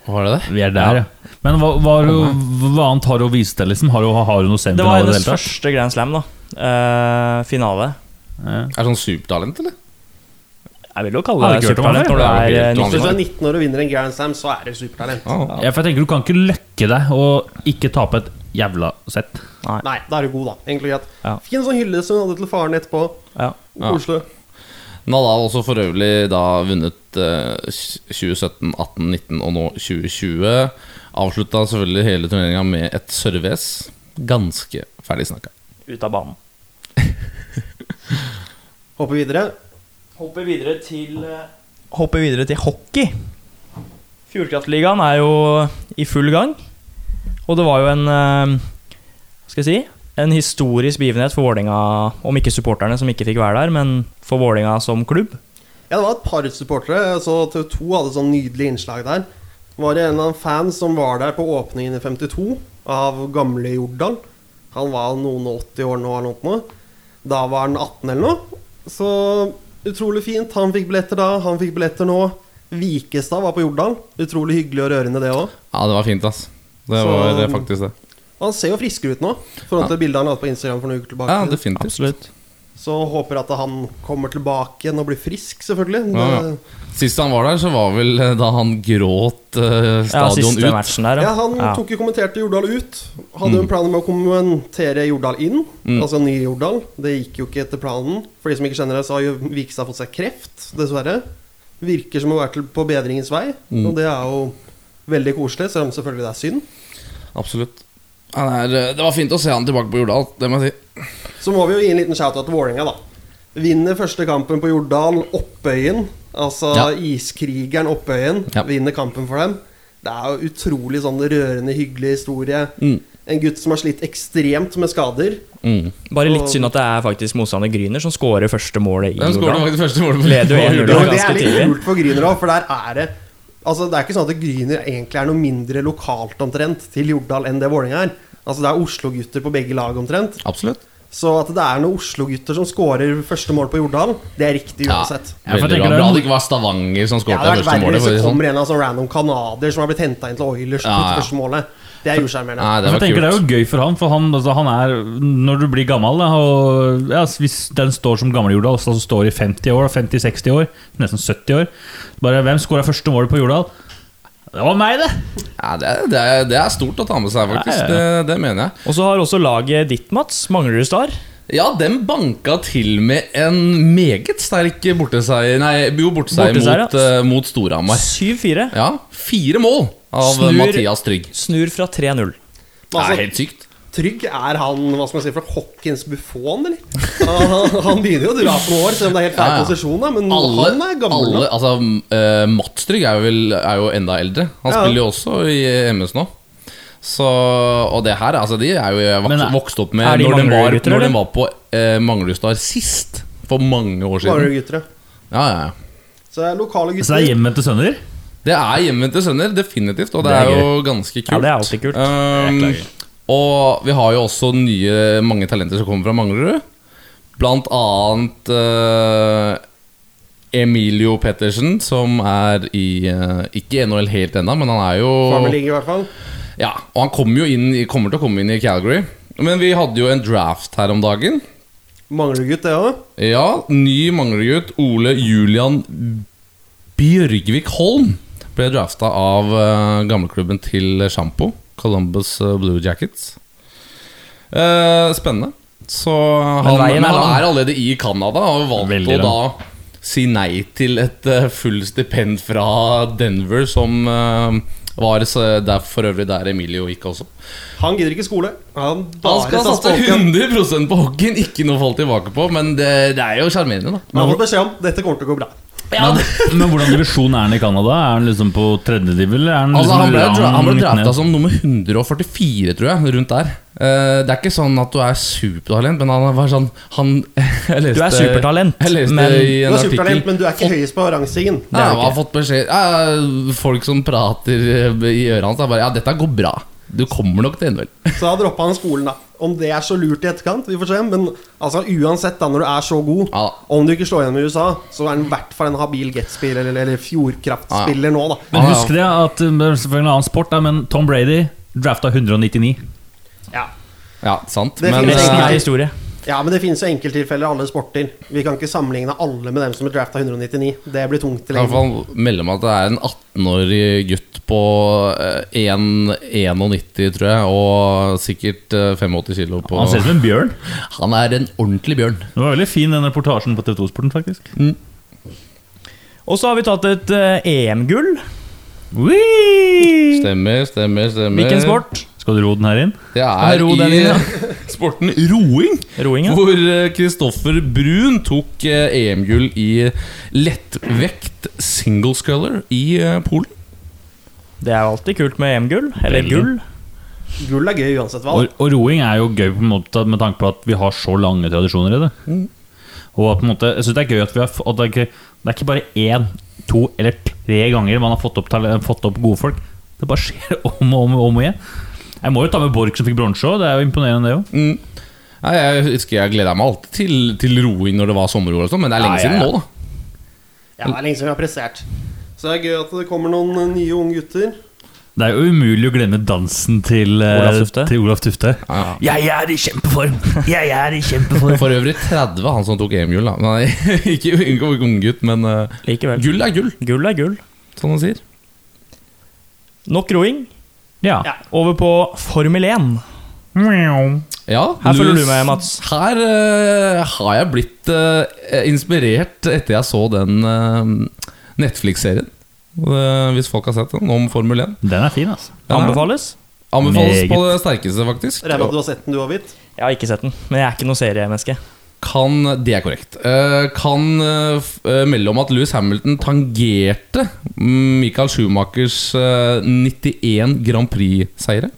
Var det det?
Vi er der, ja. Men hva, hva, er jo- hva annet har hun å vise til? Liksom? Har hun, har hun noe
Det var
semifinale? i Det
hennes
hele tatt?
første Grand Slam, da. Eh, finale.
Er det sånn supertalent, eller?
Jeg vil jo
Har
kalle det
du ikke hørt om han
supertalent
før?
når du
Har du
er
ikke
eh,
hørt om han?
90.
Hvis du er 19 år og vinner en Grand Slam, så er du supertalent.
Ah.
Ja, for jeg tenker Du kan ikke løkke deg og ikke tape et jævla sett.
Nei, da er du god, da. Egentlig greit.
Ja.
Fikk en sånn hylle som hun hadde til faren etterpå.
Ja.
Ja.
Koselig.
Nadal også for øvrig da vunnet eh, 2017, 18, 19 og nå 2020. Avslutta selvfølgelig hele turneringa med et service. Ganske ferdig snakka.
Ut av banen.
Hopper videre.
Hopper videre til eh, Hopper videre til hockey. Fjordkraftligaen er jo i full gang. Og det var jo en eh, Hva skal jeg si En historisk begivenhet for Vålinga Om ikke supporterne som ikke fikk være der, men for Vålinga som klubb.
Ja, det var et par supportere. Jeg Så TV2 hadde sånn nydelig innslag der. Var det en eller annen fan som var der på åpningen i 52 av gamle Jordan? Han var noen og 80 år nå eller noe. sånt nå. Da var han 18 eller noe. Så utrolig fint. Han fikk billetter da, han fikk billetter nå. Vikestad var på Jordan. Utrolig hyggelig og rørende, det òg.
Ja, det var fint, ass. Det
Så-
var eh, faktisk det.
Og han ser jo friskere ut nå, i forhold til bildet han la ut på Instagram for noen uker tilbake.
Ja, definitivt. Absolutt.
Så håper at han kommer tilbake igjen og blir frisk, selvfølgelig.
Ja, ja.
Det-
Sist han var der, så var vel eh, da han gråt eh,
Ja,
stadion
siste
ut.
matchen der.
Ja, han tok jo kommenterte Jordal ut. Hadde jo en plan om å kommentere Jordal inn, altså nye Jordal. Det gikk jo ikke etter planen. For de som ikke kjenner det, så har jo Vikstad fått seg kreft, dessverre. Virker som å være til- på bedringens vei, og det er jo veldig koselig, selv om selvfølgelig det er synd.
Absolutt. Han er, eh, det var fint å se han tilbake på Jordal, det må jeg si.
Så må vi jo gi en liten shout-out til Vålerenga, da. Vinner første kampen på Jordal, Oppøyen. Altså
Ja.
iskrigeren Oppøyen
Ja.
vinner kampen for dem. Det er jo utrolig sånn rørende, hyggelig historie. En gutt som har slitt ekstremt med skader.
Mm.
Mm.
Bare litt synd at det er faktisk motstander Gryner som scorer første målet i
Hvem skåret
Jordan.
faktisk første målet på
Leder jo
på
1-0.
Jordal?
Jo,
var
men det er
ganske
litt
tidlig.
kult for Gryner òg, for der er det Altså, Det er ikke sånn at Gryner egentlig er noe mindre lokalt omtrent til Jordal enn det Vålerenga er. Altså, Det er Oslo-gutter på begge lag omtrent.
Absolutt.
Så at det er noen Oslo-gutter som skårer første mål på Jordal, det er riktig
Ja,
uansett.
Ja, for
veldig
jeg
bra.
tenker det er-
Bra det ikke var Stavanger som
Det
skåret
hadde vært
det
verre
første målet.
hvis det
for å si det sånn.
kommer en eller annen sånn random canadier som har blitt henta inn til Oilers
Ja,
på
ja.
det første målet. Det er usjarmerende.
Nei, det
Jeg
var
tenker Det er
kult.
jo gøy for han, for han, altså, han er Når du blir gammel da, og, ja, Hvis den står som gamle Jordal, altså står i 50 år, 50-60 år, nesten 70 år Bare Hvem skåra første målet på Jordal? Det var meg, det!
Ja, det, er, det, er, det er stort å ta med seg, faktisk.
Ja, ja,
Det, det mener jeg.
Og så har også laget ditt, Mats, Manglerud Star,
Ja, den banka til med en meget sterk borteseier Nei, jo, borteseier
Borteseier,
mot,
ja.
eh, mot Storhamar.
7-4.
Ja, fire mål av
Snur-
Mathias Trygg.
Snur fra 3-0.
Det
Altså-
er helt sykt.
Trygg er han hva skal man si, fra hockeyens Buffon, eller? Han,
[laughs]
han begynner jo å dra på noen år, selv om det er helt feil
Ja, ja.
posisjon. da, Men
Alle,
han er gammel. nå.
alle altså, eh, Mats Trygg er jo, vel, er jo enda eldre. Han
Ja.
spiller jo også i MS nå. Så, og det her, altså de er jo jeg
Men
vokst,
er-
vokst opp med
er de
når den var,
Manglerud-gutter,
når
eller?
den var på eh, Manglerudstad sist. For mange år
Bare
siden.
gutter, ja.
Ja, ja, ja.
Så det er lokale
Så det
gutter.
er hjemvendte sønner.
Det er hjemvendte sønner, definitivt. Og det,
Det er
er, jo ganske kult.
Ja, det er alltid kult.
Um,
Det er klart.
og vi har jo også nye mange talenter som kommer fra Manglerud. Blant annet eh, Emilio Pettersen, som er i eh, Ikke NHL helt ennå, men han er jo
Farming League, i hvert fall.
Ja, og han kommer jo inn, i- kommer til å komme inn i Calgary. Men vi hadde jo en draft her om dagen.
Manglergutt, det òg.
Ja, ny manglergutt Ole Julian Bjørgvik Holm ble drafta av eh, gamleklubben til Sjampo, Columbus eh, Blue Jackets. Eh, spennende. Så han, men
veien er
han
lang.
er allerede i Canada og har valgt
Veldig
å da si nei til et uh, fullt stipend fra Denver, som eh, var så- der for øvrig der Emilio gikk også.
Han gidder ikke skole. Han
Han
bare
skal
satser på
satse
hockeyen.
100 på hockeyen, ikke noe å falle tilbake på, men det, det er jo sjarmerende, da.
Han har fått beskjed om dette kommer til å gå bra.
Men, men hvordan divisjon er han i Canada? Er han liksom på tredjediv, eller er han
Altså,
liksom
han ble, dra han ble altså.
langt
drafta
ned?
som nummer 144, tror jeg. Rundt der. Eh, det er ikke sånn at du er supertalent, men han var sånn han, jeg leste,
Du er supertalent,
jeg leste i
men-
Du
en
er
artikkel
supertalent, men du er ikke høyest på rangstigen.
ja, han har fått beskjed ja, Folk som prater eh, i øret hans, er bare Ja, dette går bra. Du kommer nok til NHL.
Så da droppa han skolen, da. Om det er så lurt i etterkant, vi får se. Men altså, uansett, da, når du er så god,
Ja.
om du ikke slår igjen med USA, så er han i hvert fall en habil Get-spiller, eller, eller Fjordkraft-spiller nå, da.
Men husk det at um, det er selvfølgelig en annen sport, da, men Tom Brady drafta 199.
Ja, sant.
Det
Men
finnes
eh,
Resten
eh,
er historie.
Ja, men det finnes jo enkelttilfeller i alle sporter. Vi kan ikke sammenligne alle med dem som er drafta 199. Det blir tungt til
I hvert
lenge.
fall melder meg at det er en 18-årig gutt på eh, 1,91, tror jeg, og sikkert eh, 85 kilo på
Han ser ut som en bjørn.
Han er en ordentlig bjørn.
Det var veldig fin den reportasjen på TV2-sporten, faktisk.
Mm.
Og så har vi tatt et eh, EM-gull.
Whee!
Stemmer, stemmer, stemmer.
Hvilken sport?
Skal du ro den her inn?
Det
Kan
er
du ro den
i
inn,
[laughs] sporten roing,
Roing, ja.
hvor eh, Kristoffer Brun tok eh, EM-gull i lettvekt single sculler i eh, Polen.
Det er jo alltid kult med EM-gull. Eller
Veldig.
gull.
Gull er gøy uansett hva.
Og, og roing er jo gøy på en måte med tanke på at vi har så lange tradisjoner i det.
Mm.
Og at på en måte, jeg synes det er gøy at, vi har, f- at det, er ikke, det er ikke bare én, to eller tre ganger man har fått opp, tale- fått opp gode folk. Det bare [laughs] skjer om og om, og om igjen. Jeg må jo ta med Borch som fikk bronse òg. Det er jo imponerende, det òg.
Nei, jeg husker jeg gleda meg alltid til, til roing når det var sommer-OL, og sånn, men det er lenge
Ja, ja,
siden
ja.
nå, da.
Ja, det er lenge siden vi har prestert. Så det er gøy at det kommer noen eh, nye unge gutter.
Det er jo umulig å glemme dansen til eh,
Olaf Tufte.
Til Olaf Tufte.
Ja,
Jeg er i kjempeform! Jeg er i kjempeform!
For øvrig 30, han som tok EM-gull. da. Nei, [laughs] ikke ikke unggutt, men eh,
[laughs] Likevel.
gull er gull,
Gull er gull.
som man sier.
Nok roing.
Ja.
Ja.
Over på Formel 1.
Ja,
Her følger du med, Mats.
Her eh, har jeg blitt eh, inspirert etter jeg så den eh, Netflix-serien. Eh, hvis folk har sett den, om Formel 1.
Den er fin, altså.
Anbefales.
Anbefales
Meget.
på det sterkeste, faktisk.
Regner med at du har sett den, du òg, Hvitt.
Jeg har ikke sett den, men jeg er ikke noe seriemenneske.
Kan, det er korrekt. Eh, kan eh, f- eh, melde om at Louis Hamilton tangerte mm, Michael Schumachers eh, 91 Grand Prix-seire.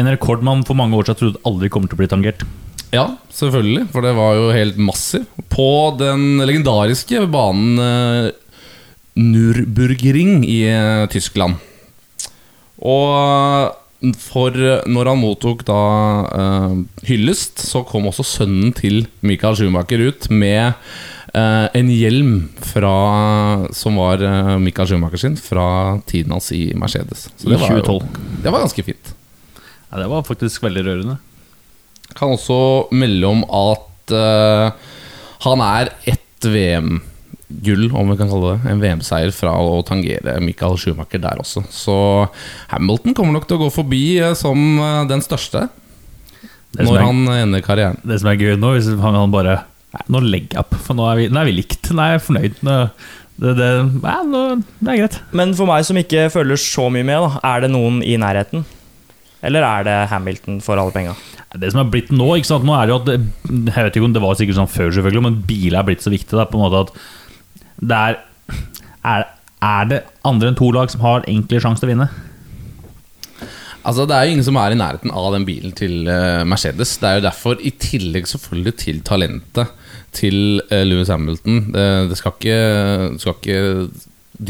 En rekord man for mange år siden trodde aldri kommer til å bli tangert.
Ja, selvfølgelig, for det var jo helt massiv. På den legendariske banen eh, Nürburgring i eh, Tyskland. Og for eh, når han mottok da eh, hyllest, så kom også sønnen til Michael Schumacher ut med eh, en hjelm fra, som var eh, Michael Schumacher sin, fra tiden hans i Mercedes. Så
I
det var, jo,
2012.
det var ganske fint.
Ja, det var faktisk veldig rørende.
Kan også melde om at eh, han er ett VM-gull, om vi kan kalle det en VM-seier, fra å tangere Michael Schumacher der også. Så Hamilton kommer nok til å gå forbi eh, som eh, den største
Det som
når
er-
han ender karrieren.
Det som er gøy nå, hvis han han bare Nei, nå legger jeg opp, for nå er vi, nå er vi likt. Nå er jeg fornøyd. Nå, det, det, nei, nå, det er greit.
Men for meg som ikke følger så mye med, da, er det noen i nærheten? Eller er det Hamilton for alle penga?
Det som er blitt nå, ikke sant? nå er det jo at det, Jeg vet ikke om det var sikkert sånn før, selvfølgelig, men biler er blitt så viktig. Det er på en måte at det er, er Er det andre enn to lag som har egentlig sjanse til å vinne?
Altså Det er jo ingen som er i nærheten av den bilen til eh, Mercedes. Det er jo derfor, i tillegg selvfølgelig til talentet til eh, Lewis Hamilton eh, Det skal ikke, skal ikke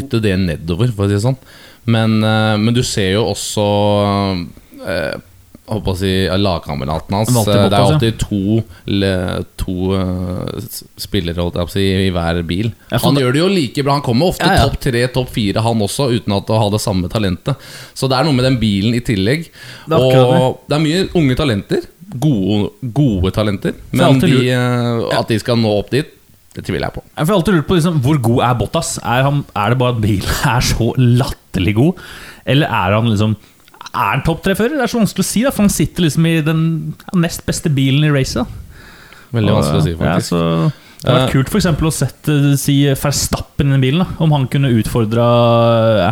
dytte det nedover, for å si det sånn. Men, eh, men du ser jo også eh, holdt på å si, ja, lagkameratene hans. Eh, Det
Valgte
er jo
Bottas, ja.
alltid to, le- to eh, s- spillere holdt jeg på å si, i hver bil.
Ja, sånn- for
Han
da-
gjør det jo like bra. Han kommer ofte
Ja, ja.
topp tre, topp fire, han også, uten at å ha det samme talentet. Så det er noe med den bilen i tillegg.
Det er akkurat
og det er mye unge talenter. Gode, gode talenter.
er
Men
alltid
de,
lurt.
eh, at de skal nå opp dit, det tviler jeg på.
Jeg får alltid lurt på liksom, hvor god er Bottas. Er, han, er det bare at bilen [laughs] er så latterlig god, eller er han liksom Er han topp tre-fører? Det er så vanskelig å si, da, for han sitter liksom i den ja, nest beste bilen i racet. da.
Veldig vanskelig å si,
Ja,
faktisk.
så det hadde vært kult for eksempel, å sett eh, si Verstappen i den bilen. da Om han kunne utfordra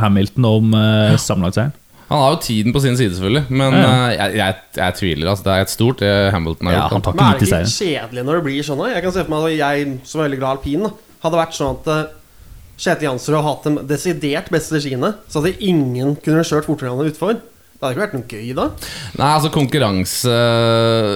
Hamilton om uh, sammenlagtseieren.
Han har jo tiden på sin side, selvfølgelig, men
Ja,
eh, jeg, jeg, jeg tviler. Altså, det er et stort det Hamilton har
Ja, han
gjort.
tar
da.
Men er
ikke
det
mye til
ikke
seieren.
kjedelig når det blir sånn? da? Jeg kan se for meg at jeg, som er veldig glad i alpin, da, hadde vært sånn at eh, Kjetil Jansrud hadde hatt den desidert beste skiene, så hadde ingen kunne kjørt fortere enn han utfor. Det hadde ikke vært noe gøy da.
Nei, altså konkurranse eh,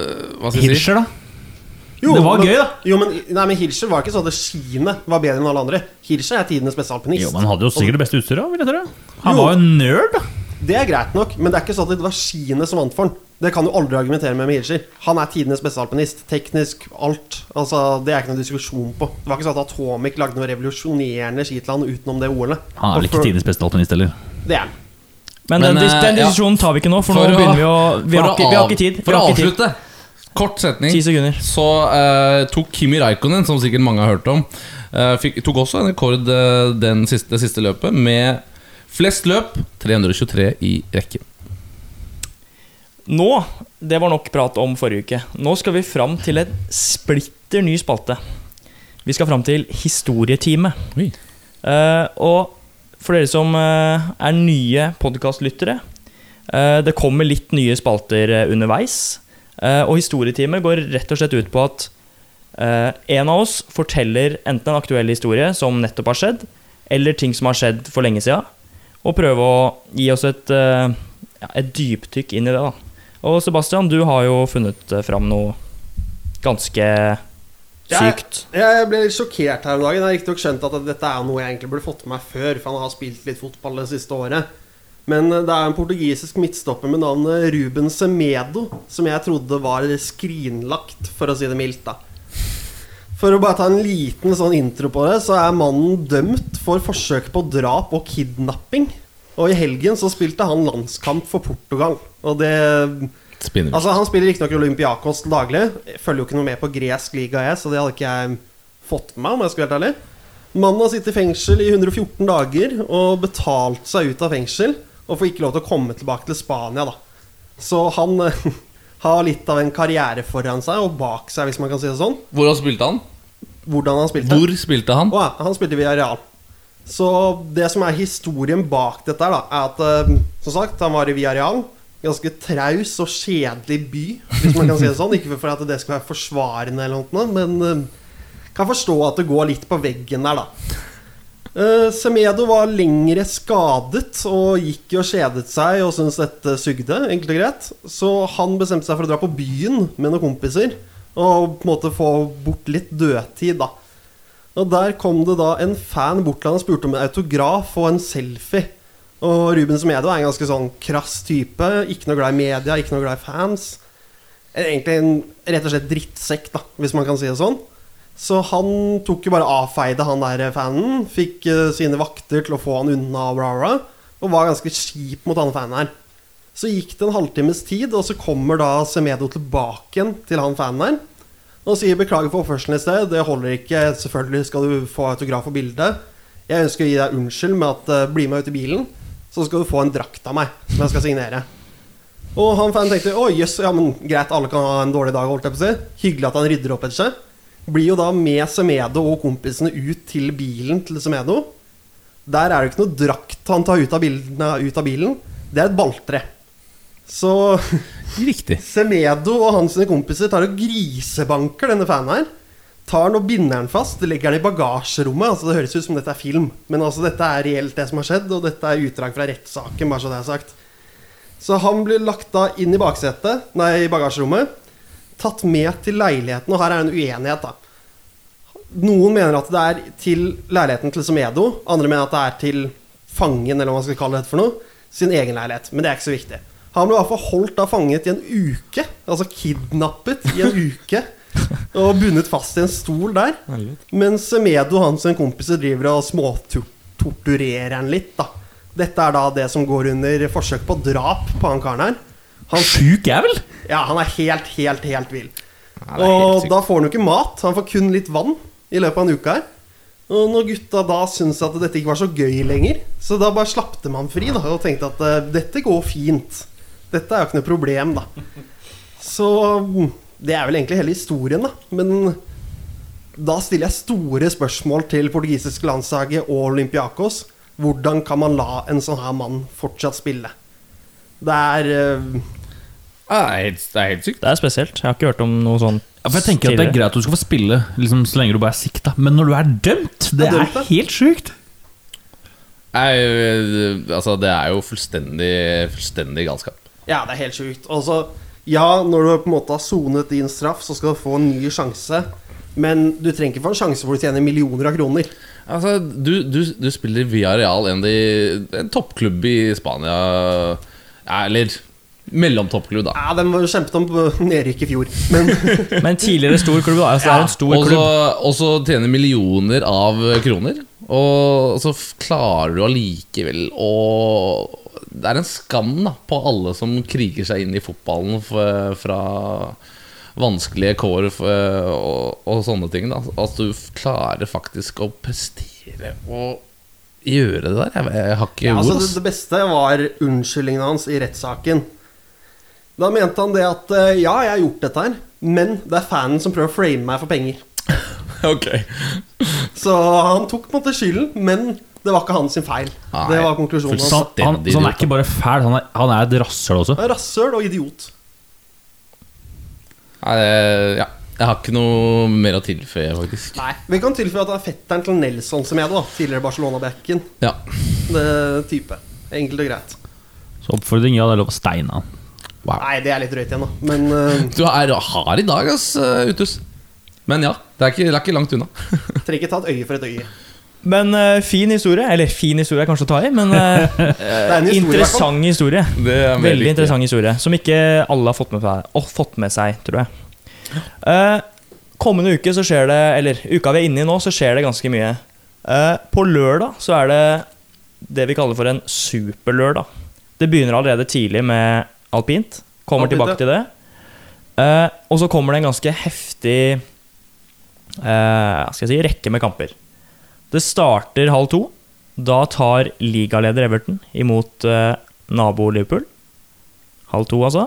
Hva skal jeg si?
Hirscher, da. Det var
men,
gøy, da.
Jo, men, nei, men Hirscher var ikke sånn at skiene var bedre enn alle andre. Hirscher er tidenes beste alpinist.
Jo, men han hadde jo sikkert det beste utstyret. da, vil jeg tro. Han
Jo.
var jo en nerd. da
Det er greit nok, men det er ikke sånn at det var skiene som vant for han. Det kan du aldri argumentere med med Hirscher. Han er tidenes beste alpinist. Teknisk, alt. Altså, Det er ikke noe diskusjon på. Det var ikke sånn at Atomic lagde noe revolusjonerende ski til han utenom det OL-et.
Han er vel ikke
Og for-
tidenes beste alpinist heller.
Det er han.
Men,
Men,
den, dis-
eh,
den
ja.
diskusjonen tar vi ikke nå, for,
For
nå
å-
begynner vi å Vi,
for
har,
å
ikke, vi har
av-
ikke tid. Vi
For å
har ikke tid.
avslutte, kort setning,
Ti sekunder.
så eh, tok Kimi Raikkonen, som sikkert mange har hørt om, eh, fikk, tok også en rekord eh, den siste, det siste løpet med flest løp, 323 i rekken.
Nå, det var nok prat om forrige uke. Nå skal vi fram til en splitter ny spalte. Vi skal fram til historietime.
Oi.
Eh, og for dere som eh, er nye podkastlyttere eh, Det kommer litt nye spalter eh, underveis. Eh, og historietime går rett og slett ut på at eh, en av oss forteller enten en aktuell historie som nettopp har skjedd, eller ting som har skjedd for lenge sida, og prøve å gi oss et, eh, ja, et dypdykk inn i det. da. Og Sebastian, du har jo funnet eh, fram noe ganske sykt.
Jeg ble litt sjokkert her om dagen. Jeg har riktignok skjønt at dette er noe jeg egentlig burde fått med meg før, for han har spilt litt fotball det siste året. Men eh, det er en portugisisk midtstopper med navnet Ruben Semedo, som jeg trodde var skrinlagt, for å si det mildt, da. For å bare ta en liten sånn intro på det, så er mannen dømt for forsøk på drap og kidnapping. Og i helgen så spilte han landskamp for Portugal. Og det
Spinner.
Altså Han spiller riktignok i Olympiakos til daglig. Jeg Følger jo ikke noe med på gresk liga, jeg, så det hadde ikke jeg fått med meg. om jeg skulle være helt ærlig Mannen har sittet i fengsel i 114 dager og betalt seg ut av fengsel. Og får ikke lov til å komme tilbake til Spania, da. Så han eh, [laughs] har litt av en karriere foran seg, og bak seg, hvis man kan si det sånn.
Hvor spilte han?
Hvordan han spilte.
Hvor spilte han?
Å ja, han spilte via Real. Så det som er historien bak dette, her da, er at eh, som sagt, han var i Via Real. Ganske traus og kjedelig by, hvis man kan si det sånn. Ikke for at det skal være forsvarende, eller noe, men eh, kan forstå at det går litt på veggen der, da. Eh, Semedo var lengre skadet og gikk jo og kjedet seg og syntes dette sugde. enkelt og greit Så han bestemte seg for å dra på byen med noen kompiser og på en måte få bort litt dødtid. da og der kom det da en fan bort til han og spurte om en autograf og en selfie. Og Ruben Semedo er en ganske sånn krass type. Ikke noe glad i media, ikke noe glad i fans. Egentlig en rett og slett drittsekk, da, hvis man kan si det sånn. Så han tok jo bare avfeide han der fanen. Fikk eh, sine vakter til å få han unna og bla, bla. bla, Og var ganske kjip mot han fanen her. Så gikk det en halvtimes tid, og så kommer da Semedo tilbake igjen til han fanen her. Og sier beklager for oppførselen i sted. Det holder ikke. Selvfølgelig skal du få autograf og bilde. Jeg ønsker å gi deg unnskyld med at eh, bli med ut i bilen, så skal du få en drakt av meg som jeg skal signere. Og han fan tenkte å jøss, ja men greit, alle kan ha en dårlig dag, holdt jeg på å si. Hyggelig at han rydder opp etter seg. Blir jo da med Semedo og kompisene ut til bilen til Semedo. Der er det jo ikke noe drakt han tar ut av, bildene, ut av bilen. Det er et balltre. Så [laughs]
Riktig.
Semedo og hans kompiser tar og grisebanker denne fanen her. Tar den og binder den fast, legger den i bagasjerommet. Altså Det høres ut som dette er film, men altså dette er reelt det som har skjedd, og dette er utdrag fra rettssaken, bare så det er sagt. Så han blir lagt da inn i baksetet, nei, i bagasjerommet. Tatt med til leiligheten, og her er en uenighet, da. Noen mener at det er til leiligheten til Semedo. Andre mener at det er til fangen, eller hva man skal kalle det for noe, sin egen leilighet. Men det er ikke så viktig. Han ble i hvert fall holdt da fanget i en uke. Altså kidnappet i en uke. Og bundet fast i en stol der. Mens Medo og hans kompiser driver og småtorturerer han litt. da Dette er da det som går under forsøk på drap på han karen her. Han
Sjuk er vel?
ja, han er helt, helt, helt vill.
det er helt
og
sykt.
da får han jo ikke mat. Han får kun litt vann i løpet av en uke her. Og når gutta da syntes at dette ikke var så gøy lenger, så da bare slapp de han fri da, og tenkte at eh, dette går fint. Dette er jo ikke noe problem, da. Så mm, det er vel egentlig hele historien, da. Men da stiller jeg store spørsmål til portugisiske landslaget og Olympiakos. Hvordan kan man la en sånn her mann fortsatt spille? Det er eh,
Ja, det, er helt, det er helt sykt.
Det er spesielt. Jeg har ikke hørt om noe sånt
Ja, for jeg tenker at Det er
tidligere.
greit at du skal få spille liksom, så lenge du bare er sikta, men når du er dømt Det
Ja, dømt, ja.
er helt sjukt!
Nei, eh, altså, det er jo fullstendig, fullstendig galskap.
Ja, det er helt sjukt. Og så, ja, når du på en måte har sonet din straff, så skal du få en ny sjanse. Men du trenger ikke få en sjanse hvor du tjener millioner av kroner.
Altså, du, du, du spiller via real en, av de- en toppklubb i Spania Ja, Eller mellomtoppklubb, da.
Ja, den var jo kjempet om på [laughs] nedrykk i fjor. [laughs] Men
Men tidligere stor klubb, da. Altså, det er en stor
Og så-
klubb.
Og så tjener millioner av kroner. Og så f- klarer du allikevel å Det er en skam da på alle som kriger seg inn i fotballen f- fra vanskelige kår f- og, og sånne ting. da At du f- klarer faktisk å prestere og gjøre det der. Jeg, jeg har ikke
altså,
ord.
det,
ass.
det beste var unnskyldningen hans i rettssaken. Da mente han det at eh, ja, jeg har gjort dette her, men det er fanen som prøver å frame meg for penger.
[laughs] Ok.
Så han tok på en måte skylden, men det var ikke hans sin feil.
Nei,
det var konklusjonen
Så
hans.
han, han, så han er ikke bare fæl, han er, han er et rasshøl også.
Han er Rasshøl og idiot.
Nei, det- ja. Jeg har ikke noe mer å tilføye, faktisk.
Nei. Vi kan tilføye at det er fetteren til Nelson som er det, da. Tidligere Barcelona-backen.
Ja.
Det type. Enkelt og greit.
Så oppfordring, ja, det er lov å steine han.
Wow.
Nei, det er litt drøyt igjen, da. Men eh,
Du er hard i dag, ass, Uthus. Men ja, det er ikke, det er ikke langt unna.
trenger ikke ta et øye for et øye.
Men eh, fin historie. Eller fin historie er kanskje å ta i, men eh,
Det er [laughs] en historie, i hvert fall.
interessant historie.
Det er
Veldig interessant historie, som ikke alle har fått med seg, og fått med seg tror jeg. Eh, kommende uke så skjer det, eller uka vi er inne i nå, så skjer det ganske mye. Eh, på lørdag så er det det vi kaller for en superlørdag. Det begynner allerede tidlig med alpint. Kommer
Alpint, ja.
tilbake til det. Eh, og så kommer det en ganske heftig eh, hva skal jeg si, rekke med kamper. Det starter halv to. Da tar ligaleder Everton imot eh, nabo Liverpool. Halv to, altså.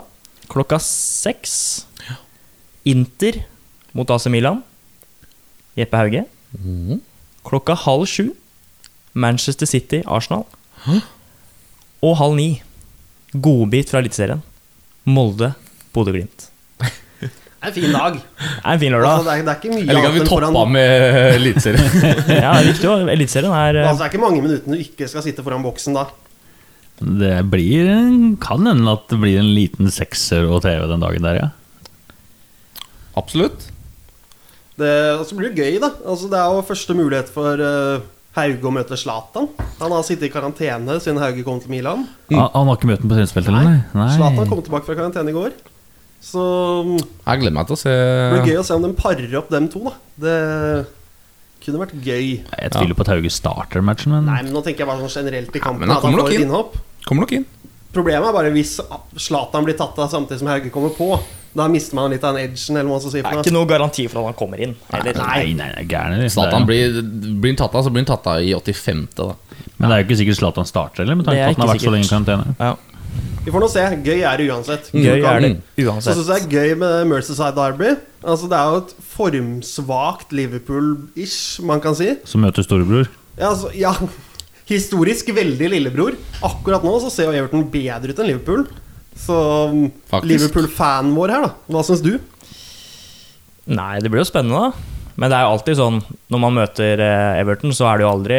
Klokka seks. Inter mot AC Milan. Jeppe Hauge. Klokka halv sju. Manchester City, Arsenal. Og halv ni. Godbit fra Eliteserien. Molde, Bodø-Glimt.
Det er en fin dag.
Det er en fin
Altså,
lørdag.
det, er, det er ikke mye
Jeg liker at
annet
vi
enn foran
toppa med eliteserien. [laughs]
Ja, det er viktig, og Eliteserien er eh,
Altså, Det er ikke mange minuttene du ikke skal sitte foran boksen da.
Det blir, en- kan hende at det blir en liten sekser og TV den dagen der, ja.
Absolutt.
Det og så blir det gøy, da. Altså, det er jo første mulighet for eh, Hauge å møte Zlatan. Han har sittet i karantene siden Hauge kom til Milan.
Han, han har ikke møtt den på treningsfeltet, eller?
Zlatan kom tilbake fra karantene i går. Så mm,
Jeg gleder meg til å se
det blir gøy å se om de parer opp dem to, da. Det kunne vært gøy.
Jeg tviler på at Hauge starter matchen, men
Nei, men nå tenker jeg bare sånn generelt i kampen.
men han
at han
kommer nok
får et
inn.
innhopp.
Kommer nok inn.
Problemet er bare hvis Zlatan blir tatt av samtidig som Hauge kommer på. Da mister man litt av den edgen, eller hva man skal si.
Det
for
er
noe.
ikke noe garanti for at han kommer inn. Eller,
Nei, nei, nei gæren er de.
Zlatan blir, blir han tatt av, så blir han tatt av i 85. da
Men det er jo ikke sikkert Zlatan starter, eller? Med
Det
tanke
er
på at han
ikke
har vært så lenge i karantene.
Ja.
Vi får nå se. Gøy er det uansett.
Mm.
Gøy er
Så
det
syns jeg
uansett.
det er gøy med Mercyside Derby. Altså, det er jo et formsvakt Liverpool-ish, man kan si.
Som møter storebror.
Ja, altså, ja, historisk veldig lillebror. Akkurat nå så ser jo Everton bedre ut enn Liverpool. Så um,
Faktisk.
Liverpool-fanen vår her, da. Hva syns du?
Nei, det blir jo spennende, da. Men det er jo alltid sånn når man møter eh, Everton, så er det jo aldri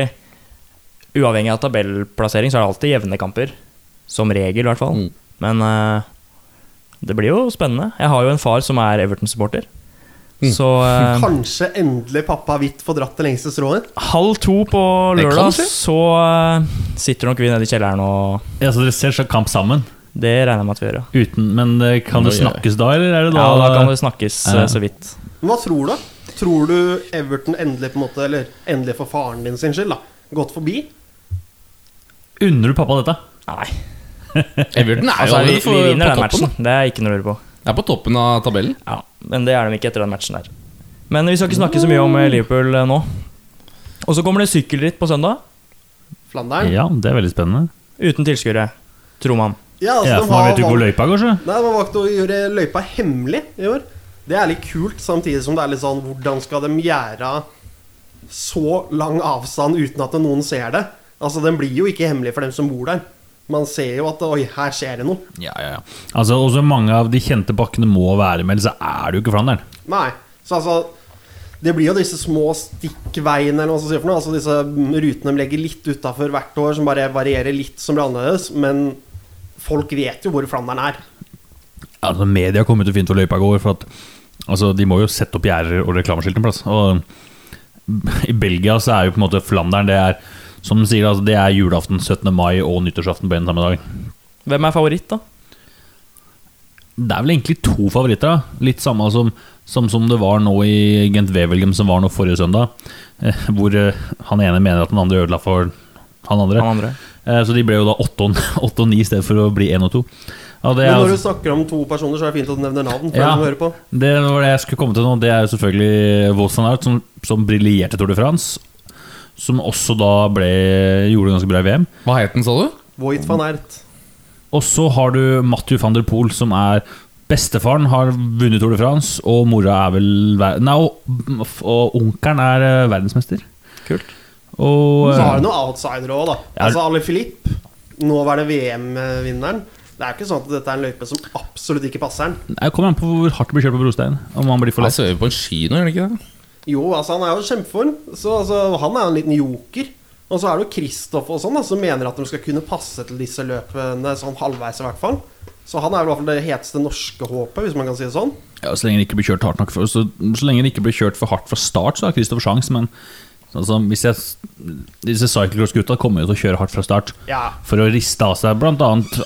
Uavhengig av tabellplassering, så er det alltid jevne kamper. Som regel, i hvert fall.
Mm.
Men eh, det blir jo spennende. Jeg har jo en far som er Everton-supporter.
Mm.
Så eh,
Kanskje endelig pappa Hvitt får dratt det lengste strået?
halv to på
Det kan
lørdag
skje.
så eh, sitter nok vi nede i kjelleren og
Ja, Så dere ser så kamp sammen?
Det regner jeg med at vi gjør, ja.
Uten, men eh, kan det
Oi, oi.
snakkes da, eller er det da,
Ja, Da kan det snakkes eh, så vidt.
Men hva tror du? Tror du Everton endelig på en måte Eller endelig for faren din sin skyld, da? Gått forbi?
Unner du pappa dette?
Nei.
Everton er jo
Altså, vi,
allerede for-
vi vinner
på
den
toppen, da.
matchen. Det er ikke noe å lure på.
Det er på toppen av tabellen.
Ja, Men det er de ikke etter den matchen der. Men vi skal ikke snakke så mye om eh, Liverpool eh, nå. Og så kommer det sykkelritt på søndag.
Flandern? Ja,
Ja, det er veldig spennende.
Uten tilskuere, tror man.
Ja,
altså, de
for man
har
vet jo ikke hvor
valgt-
løypa er, kanskje?
Nei, de har valgt å gjøre løypa hemmelig i år. Det er litt kult, samtidig som det er litt sånn Hvordan skal de gjøre så lang avstand uten at noen ser det? Altså, Den blir jo ikke hemmelig for dem som bor der. Man ser jo at Oi, her skjer det noe.
Ja, ja, ja. Altså, også mange av de kjente bakkene må være med, ellers så er det jo ikke Flandern.
Nei. Så altså Det blir jo disse små stikkveiene, eller hva man skal si for noe. Altså disse mm, rutene de legger litt utafor hvert år, som bare varierer litt, som blir annerledes. Men folk vet jo hvor Flandern er.
Altså, media kommer til å finne ut hvor løypa går, for at altså, de må jo sette opp gjerder og reklameskilt en plass. Og [laughs] i Belgia så er jo på en måte Flandern det er som de sier, altså, det er julaften, 17. mai og nyttårsaften på en samme dag.
Hvem er favoritt, da?
Det er vel egentlig to favoritter. da Litt samme som, som, som det var nå i Gent Wevelgem, som var nå forrige søndag. Eh, hvor eh, han ene mener at den andre ødela for han andre.
Han andre.
Eh, så de ble jo da åtte og- [laughs] åtte og ni i stedet for å bli én og to. Ja, det, er
Men når
altså-
du snakker om to personer, så er det fint at du nevner navn. For
Ja.
ja. hører på
Det var det jeg skulle komme til nå. Det er jo selvfølgelig Wout van Aert, som, som briljerte i Tour de France. Som også da ble, gjorde det ganske bra i VM.
Hva het den, sa du?
Voit van Ert.
Og så har du Mathieu van der Poel, som er Bestefaren har vunnet Tour de France, og mora er vel ver- Nei, og, og onkelen er eh, verdensmester.
Kult.
Og
Så har
eh,
du noen outsidere òg, da.
Ja.
Altså Ali Philippe, nåværende VM-vinneren. Det er jo ikke sånn at dette er en løype som absolutt ikke passer han.
jeg kommer an på hvor hardt det blir kjørt på brostein. Om han blir for
Da
lett.
ser vi på en ski nå, gjør det ikke det?
Jo, altså han er jo i kjempeform, så altså, han er jo en liten joker. Og så er det jo Kristoff og sånn da, som mener at de skal kunne passe til disse løpene sånn halvveis i hvert fall. Så han er vel i hvert fall det heteste norske håpet, hvis man kan si det sånn.
Ja, så lenge det ikke blir kjørt hardt nok for, så, så lenge det ikke blir kjørt for hardt fra start, så har Kristoffer sjans, men altså, hvis jeg, disse cyclocross-gutta kommer jo til å kjøre hardt fra start
Ja.
for å riste av seg bl.a.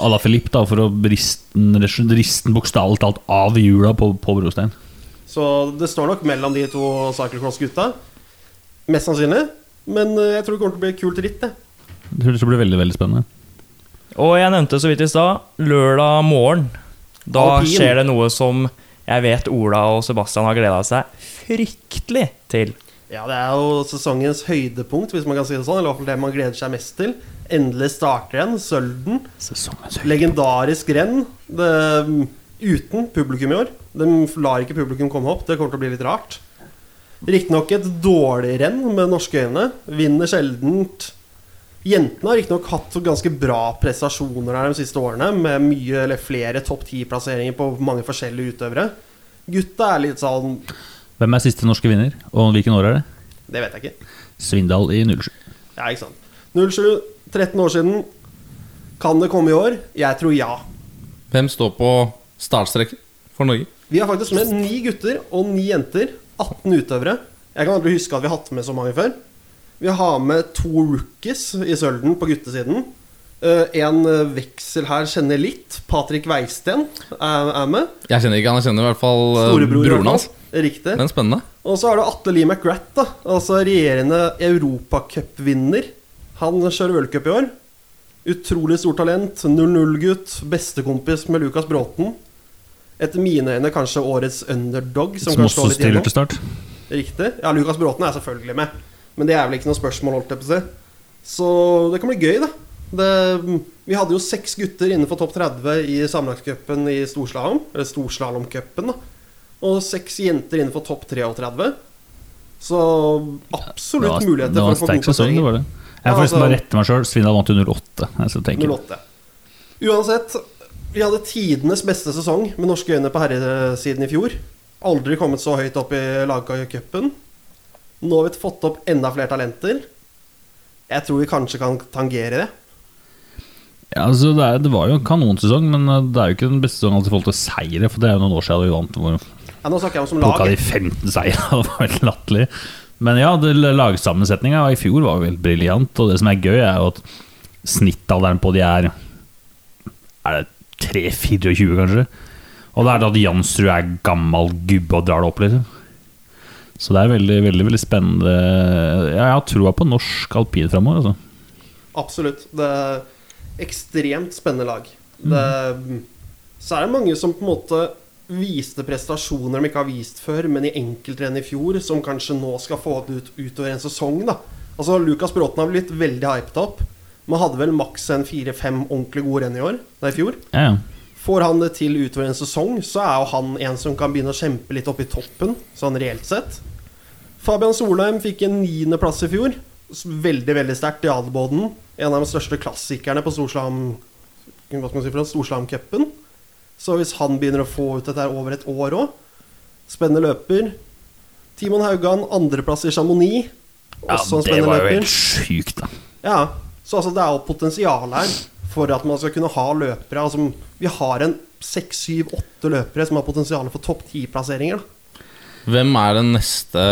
Ala Filip, da, for å riste den- riste den bokstavelig talt av hjula på, på brostein.
Så det står nok mellom de to cyclocross-gutta. Mest sannsynlig. Men eh, jeg tror det kommer til å bli et kult ritt, det.
Jeg tror det blir veldig veldig spennende.
Og jeg nevnte så vidt i stad, lørdag morgen. Da
Alpin.
skjer det noe som jeg vet Ola og Sebastian har gleda seg fryktelig til.
Ja, det er jo sesongens høydepunkt, hvis man kan si det sånn. Eller i hvert fall det man gleder seg mest til. Endelig starter igjen. Sølden.
Sesongens høyde.
Legendarisk renn. Det, uten publikum i år. De lar ikke publikum komme opp. Det kommer til å bli litt rart. Riktignok et dårlig renn med norske øyne. Vinner sjeldent. Jentene har riktignok hatt ganske bra prestasjoner her de siste årene, med mye eller flere topp ti-plasseringer på mange forskjellige utøvere. Gutta er litt sånn
Hvem er siste norske vinner, og hvilken år er det?
Det vet jeg ikke.
Svindal i 07.
Ja, ikke sant. 07, 13 år siden. Kan det komme i år? Jeg tror ja.
Hvem står på startstreken for Norge?
Vi har faktisk med ni gutter og ni jenter. 18 utøvere. Jeg kan aldri huske at vi har hatt med så mange før. Vi har med to rookies i Sølden på guttesiden. Eh, en eh, veksel her kjenner jeg litt. Patrick Weisten er, er med.
Jeg kjenner ikke han, jeg kjenner i hvert fall eh,
i hvert
broren
fall.
hans.
Riktig.
Men spennende.
Og så er det Atle Lee McGrath, da. Altså regjerende europacupvinner. Han kjører v-cup i år. Utrolig stort talent. 0-0-gutt. Bestekompis med Lukas Bråten. Etter mine øyne kanskje årets underdog, som,
Som
kan slå
også
litt
stiller
gjennom.
til start.
Riktig. Ja, Lukas Bråten er selvfølgelig med. Men det er vel ikke noe spørsmål, holdt jeg på å si. Så det kan bli gøy, da. Det, vi hadde jo seks gutter innenfor topp 30 i sammenlagtcupen i storslalåm. Eller storslalåmcupen, da. Og seks jenter innenfor topp 33. Så
Det
absolutt
var,
muligheter
det
for å
var en
få
sterk
gode
sesong, det
plasseringer.
var det. Jeg får
Ja,
forresten
altså-
bare rette meg sjøl. Svindal vant jo 08. Jeg skal tenke.
08. Uansett, vi hadde tidenes beste sesong med norske øyne på herresiden i fjor. Aldri kommet så høyt opp i lagcupen. Nå har vi fått opp enda flere talenter. Jeg tror vi kanskje kan tangere det.
Ja, altså det, er, det var jo en kanonsesong, men eh, det er jo ikke den beste sesongen altså, i forhold til seire. For det er jo noen år siden vi vant hvor
Ja, nå snakker jeg om som
plukka
lag.
de 15 [laughs] seire. Det var helt latterlig. Men ja, lagsammensetninga i fjor var jo helt briljant. Og det som er gøy, er jo at snittalderen på de er Er det 3-24, kanskje. Og det er da at Jansrud er gammel gubbe og drar det opp, liksom. Så det er veldig, veldig, veldig spennende. Ja, jeg har troa på norsk alpin framover, altså.
Absolutt. Det er ekstremt spennende lag. Det, så er det mange som på en måte viste prestasjoner de ikke har vist før, men i enkeltrenn i fjor, som kanskje nå skal få det ut utover en sesong. da Altså Lukas Bråten har blitt veldig hypet opp. Man hadde vel maks en fire-fem ordentlig gode renn i år. Det er i fjor.
Ja, ja.
Får han det til utover en sesong, så er jo han en som kan begynne å kjempe litt opp i toppen, sånn reelt sett. Fabian Solheim fikk en niendeplass i fjor. s- Veldig, veldig sterkt i Adelboden. En av de største klassikerne på Storslam Hva skal man si for noe? Storslamcupen. Så hvis han begynner å få ut dette her over et år òg Spennende løper. Timon Haugan, andreplass i Chamonix. Også en
det
spennende
var jo helt
løper.
sjukt, da.
Ja, så altså, det er jo potensial her for at man skal kunne ha løpere. Altså, vi har en seks, syv, åtte løpere som har potensial for topp ti-plasseringer. da.
Hvem er den neste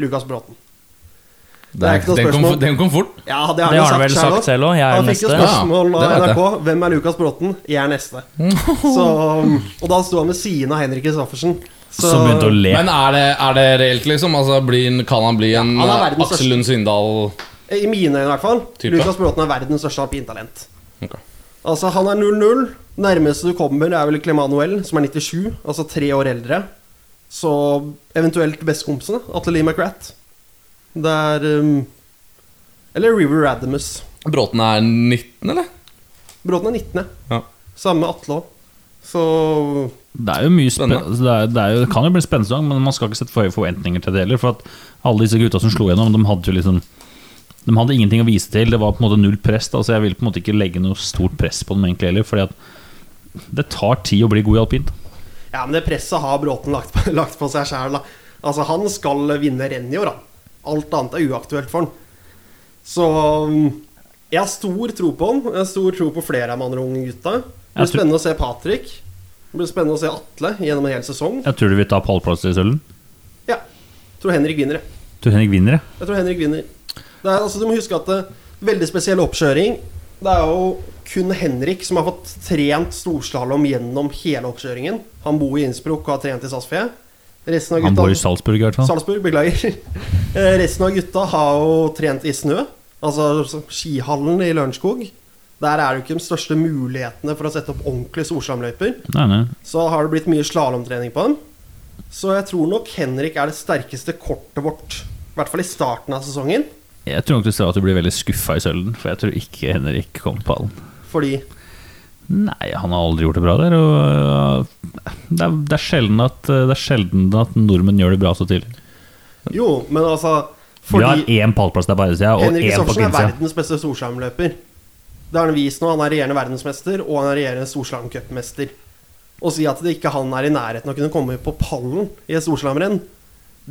Lukas Bråten.
Det er,
ikke noe
den, kom,
spørsmål.
den kom fort.
Ja, det
Det
har
har
han
han
jo sagt
vel
selv
sagt
også.
selv også, jeg er
Han fikk jo
neste.
spørsmål
Ja, det
av
vet jeg.
NRK. Hvem er Lukas Bråten? Jeg er [laughs] neste. Så, og da sto han ved siden av Henrik Kristoffersen. Så-
Som begynte å le.
Men er det, er det reelt, liksom? Altså, blir, en- kan han bli en
han er
eh,
verdens største.
Aksel Lund Svindal
Eh, I mine øyne, i hvert fall.
Type.
Lukas Bråten er verdens største alpintalent.
Ok.
Altså, han er 0-0. Nærmeste du kommer, er vel Clemanuel, som er 97, altså tre år eldre. Så eventuelt bestekompisen, Atle Lee McGrath. Det er um, Eller River Radamus.
Bråten er 19, eller?
Bråten er 19.,
Ja.
Samme med Atle òg. Så
Det er jo mye spen-
Spennende.
altså, det, er, det, er jo, det kan jo bli spennende, sesong, men man skal ikke sette for høye forventninger til det heller. For at alle disse gutta som slo gjennom, de hadde jo liksom De hadde ingenting å vise til. Det var på en måte null press. Da, så jeg vil på en måte ikke legge noe stort press på dem egentlig heller. Fordi at det tar tid å bli god i alpint.
Ja, men det presset har Bråten lagt på, [laughs] lagt på seg sjæl, da. Altså, han skal vinne renn i år, da. Alt annet er uaktuelt for han. Så um, jeg har stor tro på han. Jeg har stor tro på flere av de andre unge gutta. Det
Jeg
blir
tror-
spennende å se Patrick. Det blir spennende å se Atle gjennom en hel sesong.
Jeg tror du vil ta pallplass i sølven.
Ja. Jeg tror Henrik vinner, jeg.
Tror Henrik vinner, jeg.
Jeg tror Henrik vinner. Det er, altså, du må huske at det veldig spesiell oppkjøring. Det er jo kun Henrik som har fått trent storslalåm gjennom hele oppkjøringen. Han bor i Innsbruck og har trent i Sasfjell. Resten av
Han
gutta
bor i Salzburg, i hvert fall.
Salzburg, beklager. [laughs] Eh, Resten av gutta har jo trent i snø. Altså skihallen i Lørenskog. Der er det jo ikke de største mulighetene for å sette opp ordentlige storslamløyper.
Nei, nei.
Så har det blitt mye slalåmtrening på dem. Så jeg tror nok Henrik er det sterkeste kortet vårt. I hvert fall i starten av sesongen.
Jeg tror nok du ser at du blir veldig skuffa i sølven, for jeg tror ikke Henrik kommer på pallen.
Fordi
Nei, han har aldri gjort det bra der. Og øh, det er, det er, sjelden, at, det er sjelden at nordmenn gjør det bra så tidlig.
Jo, men altså
Vi har
Fordi
én pallplass der på herresida og
Henrik
én på
Kristoffersen er
kvinnesida.
verdens beste storslalåmløper. Det har han vist nå. Han er regjerende verdensmester, og han er regjerende storslalåmcupmester. Å si at det ikke han er i nærheten av å kunne komme på pallen i et storslalåmrenn,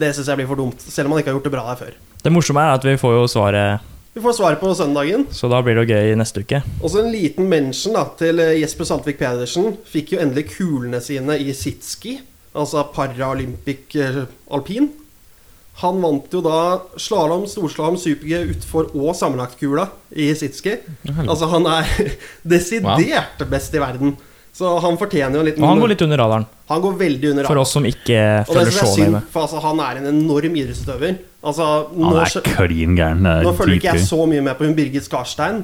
det syns jeg blir for dumt. Selv om han ikke har gjort det bra der før.
Det morsomme er at vi får jo svaret,
Vi får svar på søndagen.
så da blir det jo gøy neste uke.
Også en liten mention da, til eh, Jesper Saltvik Pedersen. Fikk jo endelig kulene sine i sitski, altså Paralympic eh, alpin. Han vant jo da slalåm, storslalåm, super-G utfor og sammenlagtkula i sitski. Altså, han er [laughs] desidert best i verden. Så han fortjener jo en liten
Og han går litt under radaren,
han går veldig under
for oss som ikke
Mm. Og det
følger
synes jeg er
så nøye
synd,
med.
for altså, han er en enorm idrettsutøver. Altså,
Han
nå
er
skjø-
klin gæren. Det
nå
er
følger ikke jeg
dritgøy.
så mye med på hun Birgit Skarstein,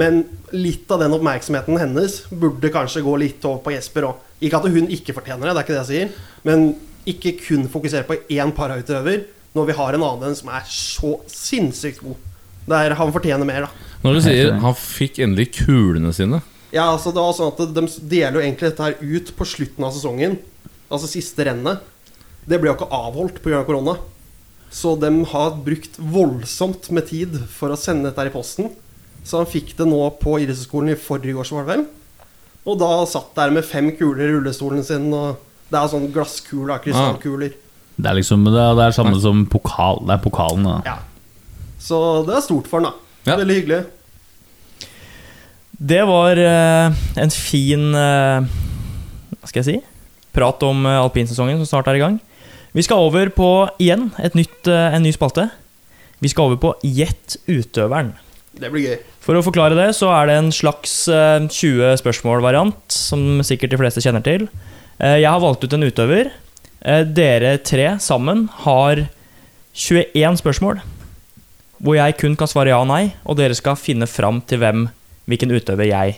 men litt av den oppmerksomheten hennes burde kanskje gå litt over på Jesper òg. Ikke at hun ikke fortjener det, det er ikke det jeg sier, men ikke kun fokusere på én parautøver når vi har en annen som er så sinnssykt god. Der han fortjener mer, da.
Når du sier han fikk endelig kulene sine
Ja, altså det var sånn at De deler jo egentlig dette her ut på slutten av sesongen. Altså siste rennet. Det ble jo ikke avholdt pga. Av korona. Så de har brukt voldsomt med tid for å sende dette her i posten. Så han fikk det nå på idrettshøyskolen i forrige års, var det vel. Og da satt der med fem kuler i rullestolen sin. Og det er sånn glasskuler, da, krystallkuler.
Det er liksom det, er- det er samme som pokal. Det er pokalen, da.
Ja. Så det er stort for han, da.
Ja.
Veldig hyggelig.
Det var eh, en fin eh, Hva skal jeg si? Prat om eh, alpinsesongen som snart er i gang. Vi skal over på igjen et nytt, eh, en ny spalte. Vi skal over på Gjett utøveren.
Det blir gøy.
For å forklare det, så er det en slags eh, 20 spørsmål-variant, som sikkert de fleste kjenner til. Eh, Jeg har valgt ut en utøver. Eh, Dere tre sammen har 21 spørsmål, hvor jeg kun kan svare ja og nei, og dere skal finne fram til hvem, hvilken utøver jeg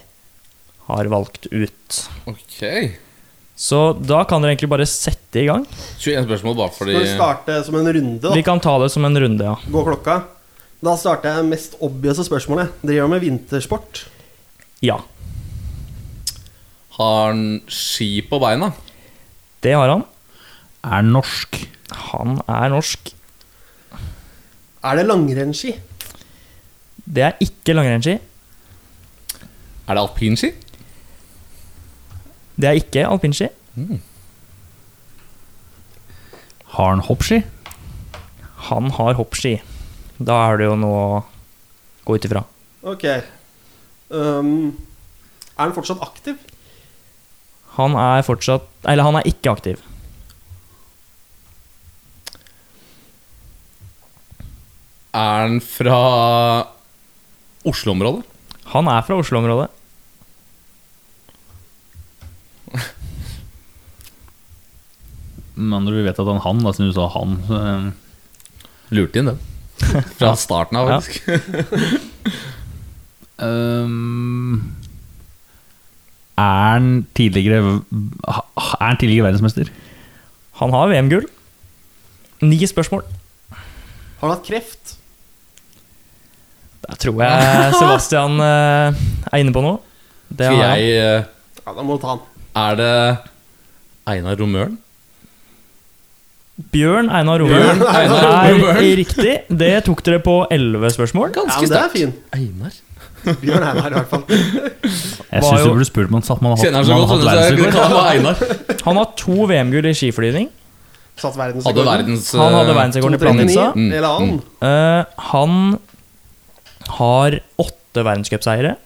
har valgt ut.
Ok.
Så da kan dere egentlig bare sette i gang.
21 spørsmål bare fordi
Skal vi starte som en runde, da?
Vi kan ta det som en runde, ja.
Gå klokka. Da starter jeg mest obvious spørsmålet. Driver med vintersport?
Ja,
Har han ski på beina?
det har han.
Er norsk.
Han er norsk.
Er det langrennsski?
Det er ikke langrennsski.
Er det alpinski?
Det er ikke alpinski.
Har han hoppski?
Han har hoppski. Da er det jo noe å gå ut ifra.
Ok. Um, er den fortsatt aktiv?
Han er fortsatt Eller han er ikke aktiv.
Er han fra Oslo-området?
Han er fra Oslo-området.
Men når du vet at han han, da, siden du sa han så, eh,
Lurte inn den. Fra starten av, faktisk.
ehm, Er han tidligere ha- Er han tidligere verdensmester?
Han har VM-gull. Ni spørsmål.
Har den hatt kreft?
Der
[laughs]
tror jeg Sebastian eh, er inne på noe. Det
Skal
har han.
jeg eh,
Ja, da må du ta den.
Er det Einar Romøren?
Bjørn Einar Romer
Bjørn Einar
er
Romøren.
[laughs] riktig. Det tok dere på elleve spørsmål.
Ja, men det er fin.
Einar.
Bjørn er her i hvert fall.
Jeg
Var
syns du
jo-
burde spurt om han satt man har hatt,
Kjenner han
man
så
har
godt,
hatt
så jeg kunne
verdensrekord.
kalle meg Einar.
Han har to VM-gull i skiflygning.
Satt
Hadde
verdensrekorden.
verdens
Han hadde
eh,
verdensrekorden
239,
i planhilsa.
Mm,
Eller annen.
Eh, han har åtte verdenscupseiere.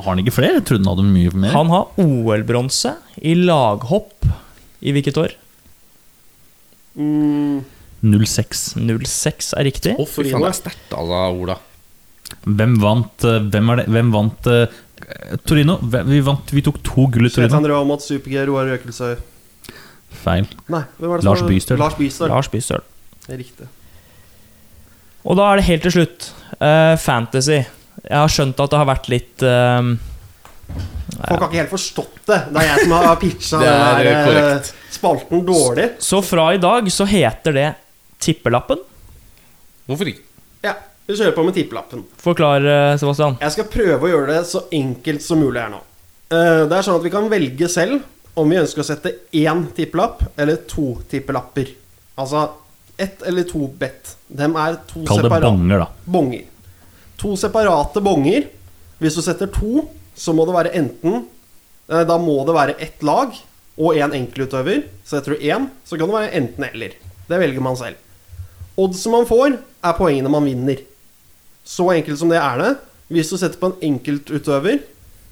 Har han ikke flere? Jeg trodde han hadde mye mer.
Han har OL-bronse i laghopp i hvilket år?
Mm,
06.
06 er riktig.
Å, fy faen, det er sterkt, altså, Ola.
Hvem vant eh, Hvem, er det? hvem vant eh, Torino? Hvem- Vi, vant, vi tok to gull i Torino.
Svetan Røamodt, Super-G, Roar Røkelsøy
Feil.
Nei, hvem var det
Lars
som-
Bystøl.
Lars Bystøl.
Lars Bystøl.
Det er Riktig.
Og da er det helt til slutt. Eh, fantasy. Jeg har skjønt at det har vært litt eh,
Folk har ikke helt forstått det. Det er jeg som har pitcha
[laughs] Det er
den der, eh,
korrekt.
spalten dårlig.
Så fra i dag så heter det Tippelappen.
Hvorfor ikke?
Ja, vi kjører på med tippelappen.
Forklar, eh, Sebastian.
Jeg skal prøve å gjøre det så enkelt som mulig her nå. Eh, Det er sånn at vi kan velge selv om vi ønsker å sette én tippelapp eller to tippelapper. Altså ett eller to bet. Dem er to
Kall det
separate
banger, da.
bonger. To separate bonger. Hvis du setter to, så må det være enten eh, Da må det være ett lag og én enkeltutøver. Setter du én, så kan det være enten-eller. Det velger man selv. Oddsen man får, er poengene man vinner. Så enkelt som det er det. Hvis du setter på en enkeltutøver,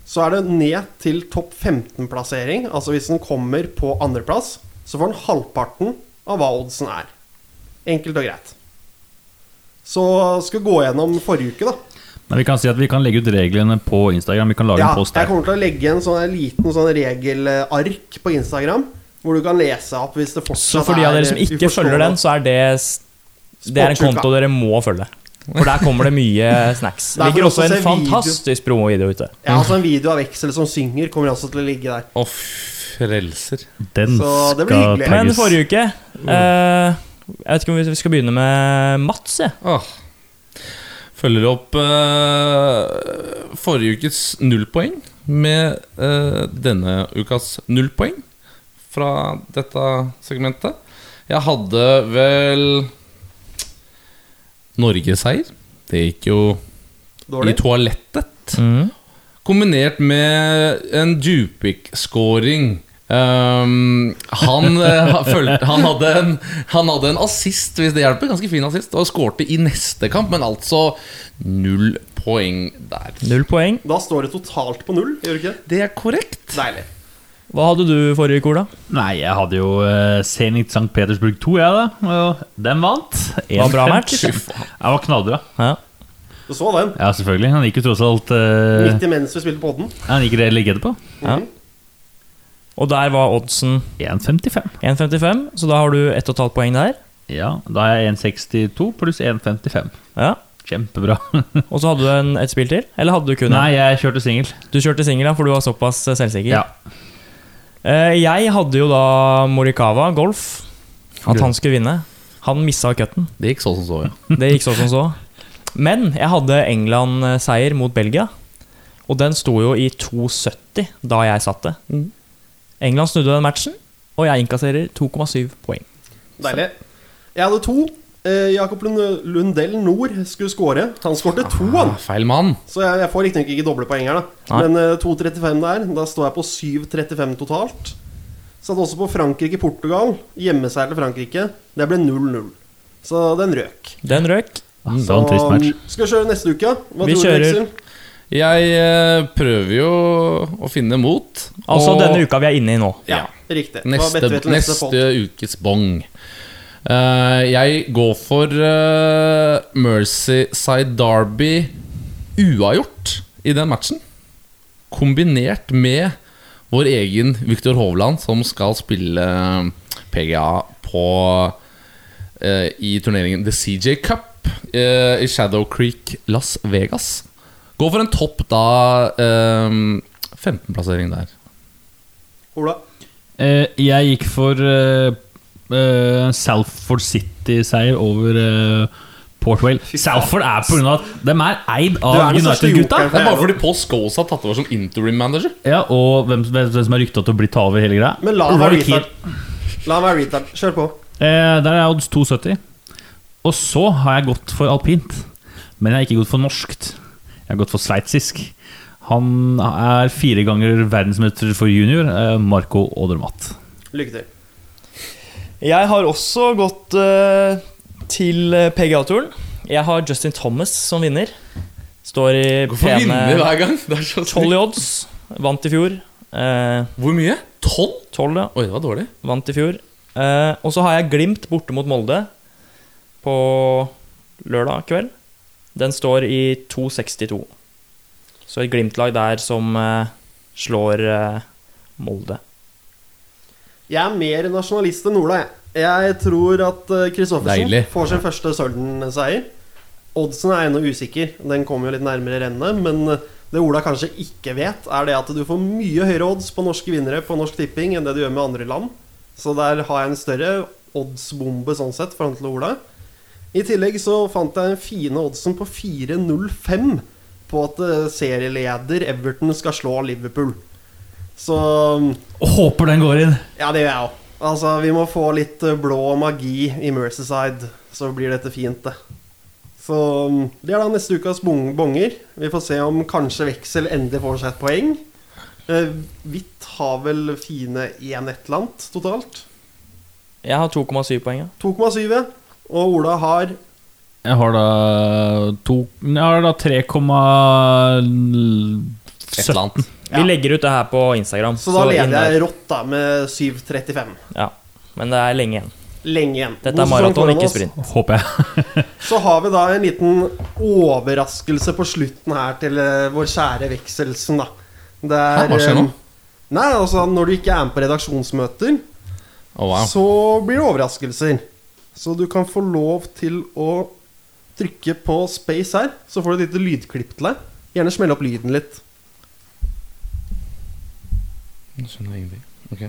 så er det ned til topp 15-plassering. Altså hvis den kommer på andreplass, så får den halvparten av hva oddsen er. Enkelt og greit. Så skal vi gå gjennom forrige uke, da.
Men vi kan si at vi kan legge ut reglene på Instagram. Vi kan lage
Ja,
en post
jeg
der.
kommer til å legge en sånn en liten sånn regelark på Instagram, hvor du kan lese opp hvis det
Så
fortsatt eh,
for de av dere som ikke følger den, så er det s- Det er en
Sportsuka.
konto dere må følge. For der kommer det mye
[laughs]
snacks.
Der
Det
får du
ligger også
også
en
se video.
fantastisk promovideo ute.
Ja, altså en video av Veksel som synger, kommer også til å ligge der.
Å, frelser.
Den
Så det blir
skal
hyggelig.
tagges.
Men forrige uke
Mm.
eh, Jeg vet ikke om vi skal begynne med Mats, jeg.
Åh. Følger opp eh, forrige ukes nullpoeng med eh, denne ukas nullpoeng fra dette segmentet. Jeg hadde vel Norgeseier. Det gikk jo
Dårlig.
i toalettet.
Mm.
Kombinert med en Djupik-scoring. Ehm, han, eh, ha- følte, han, hadde en, han hadde en assist, hvis det hjelper. Ganske fin assist. Og skårte i neste kamp, men altså null poeng der.
Null poeng.
Da står det totalt på null, gjør det
[laughs]
ikke det?
Det er korrekt.
Deilig.
Hva hadde du forrige uke, Ola?
Nei, jeg hadde jo uh, Zenit St. Petersburg 2, jeg, da. Og den vant.
Det var bra match.
Jeg var knallbra.
Ja.
Du så den?
Ja, selvfølgelig. Han gikk jo tross alt eh,
Midt imens vi spilte podden.
Han gikk redd ligge etterpå.
Ja. Og der var oddsen
1,55.
1,55, så da har du 1,5 poeng der.
Ja, da er jeg 1,62 pluss 1,55.
Ja.
Kjempebra.
Og så hadde du en, et spill til? Eller hadde du kun
Nei,
en?
jeg kjørte singel.
Du kjørte singel, ja, for du var såpass eh, selvsikker.
Ja.
Eh, jeg hadde jo da Morikawa golf. At han skulle vinne. Han missa cutten.
Det gikk så som så, ja.
Det gikk så som så. Men jeg hadde England-seier mot Belgia. Og den sto jo i 2,70 da jeg satt det.
Mm.
England snudde den matchen, og jeg innkasserer 2,7 poeng.
Deilig. Jeg hadde to. Eh, Jakob Lund- Lundell Nord skulle score. Han skårte to, han.
Ah, Feil mann.
Så jeg, jeg får riktignok ikke doble poeng her, da.
Nei.
Men eh, 2.35 der. Da står jeg på 7.35 totalt. Satt også på Frankrike-Portugal. Hjemmeseier til Frankrike. Det ble 0-0. Så den røk.
Den røk.
Ah, Så en trist
Og,
match.
mm, skal vi kjøre neste uke? Hva
Vi
tror
kjører-
du, Veksel?
Jeg eh, prøver jo å finne mot.
Altså
og-
denne uka vi er inne i nå.
Ja, riktig. Hva
Neste,
bedte vi til neste
neste
podd?
ukes bong. Eh, jeg går for eh, Merseyside Derby uavgjort i den matchen. Kombinert med vår egen Viktor Hovland, som skal spille eh, PGA på eh, i turneringen The CJ Cup eh, i Shadow Creek Las Vegas. Gå for en topp, da. eh, 15-plassering der.
Ola?
Eh, jeg gikk for eh, eh, Salford City-seier over eh, Port Whale. Salford er på grunn av at de er eid
Du er
av
den største
United-gutta.
jokeren
Det er bare
for
fordi Paul Scholes har tatt over som interim manager.
Ja, og hvem, hvem hvem som er rykta til å bli ta over hele greia.
Men la han være
Roy Keane.
retard. La han være retard. Kjør på.
Eh, der er odds 2,70. Og så har jeg gått for alpint. Men jeg har ikke gått for norskt. Jeg har gått for sveitsisk. Han er fire ganger verdensmester for junior, eh, Marco Odermatt.
Lykke til.
Jeg har også gått eh, til eh, PGA-turen. Jeg har Justin Thomas som vinner. Står i
Får vinne
pene
hver gang. Det er så
tolv i odds. Vant i fjor. Eh,
Hvor mye? Tolv?
12, ja.
Oi, det var dårlig.
Vant i fjor. Eh, og så har jeg Glimt borte mot Molde på lørdag kveld. Den står i 2,62. Så et Glimt-lag der som eh, slår eh, Molde.
Jeg er mer nasjonalist enn Ola, jeg. Jeg tror at eh, Kristoffersen
Deilig.
får sin første Sølden-seier. Oddsen er ennå usikker. Den kommer jo litt nærmere rennet. Men eh, det Ola kanskje ikke vet, er det at du får mye høyere odds på norske vinnere på Norsk Tipping enn det du gjør med andre land. Så der har jeg en større oddsbombe sånn sett foran til Ola. I tillegg så fant jeg den fine oddsen på 4,05 på at eh, serieleder Everton skal slå Liverpool. Så mm,
håper den går inn!
ja, det gjør jeg òg. Altså, vi må få litt eh, blå magi i Merceside, så blir dette fint, det. Så mm, det er da neste ukas bong bonger. Vi får se om kanskje Veksel endelig får seg et poeng. Eh, Hvitt har vel fine én et eller annet totalt.
Jeg har 2,7 poeng. ja.
2,7. ja. Og Ola har
Jeg har da to Jeg har da 3,17.
Et eller annet.
Vi legger ut det her på Instagram.
Så da
inn
leder
der.
jeg rått, da, med 7,35.
Ja, Men det er lenge igjen.
Lenge igjen.
Dette
God
er
sesong
maraton,
foran
ikke
oss.
sprint.
Håper jeg.
Så har vi da en liten overraskelse på slutten her til eh, vår kjære Vekselsen, da. Det er,
Hæ, hva skjer nå?
eh, Nei, altså Når du ikke er med på redaksjonsmøter,
Å, wow.
så blir det overraskelser. Så du kan få lov til å trykke på space her, så får du et lite lydklipp til deg. Gjerne smell opp lyden litt.
Nå skjønner jeg ingenting. Ok.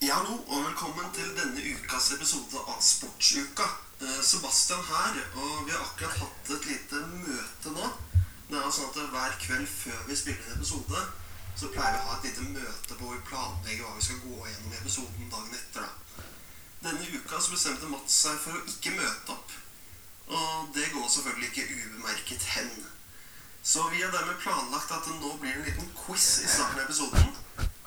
Ja, hallo, og velkommen til denne ukas episode av Sportsuka. Eh, Sebastian her, og vi har akkurat hatt et lite møte nå. Det er jo sånn at Hver kveld før vi spiller en episode, så pleier vi å ha et lite møte på hvor vi planlegger hva vi skal gå gjennom i episoden dagen etter. da. Denne uka så bestemte Mats seg for å ikke møte opp. Og det går selvfølgelig ikke ubemerket hen. Så vi har dermed planlagt at det nå blir en liten quiz i starten av episoden.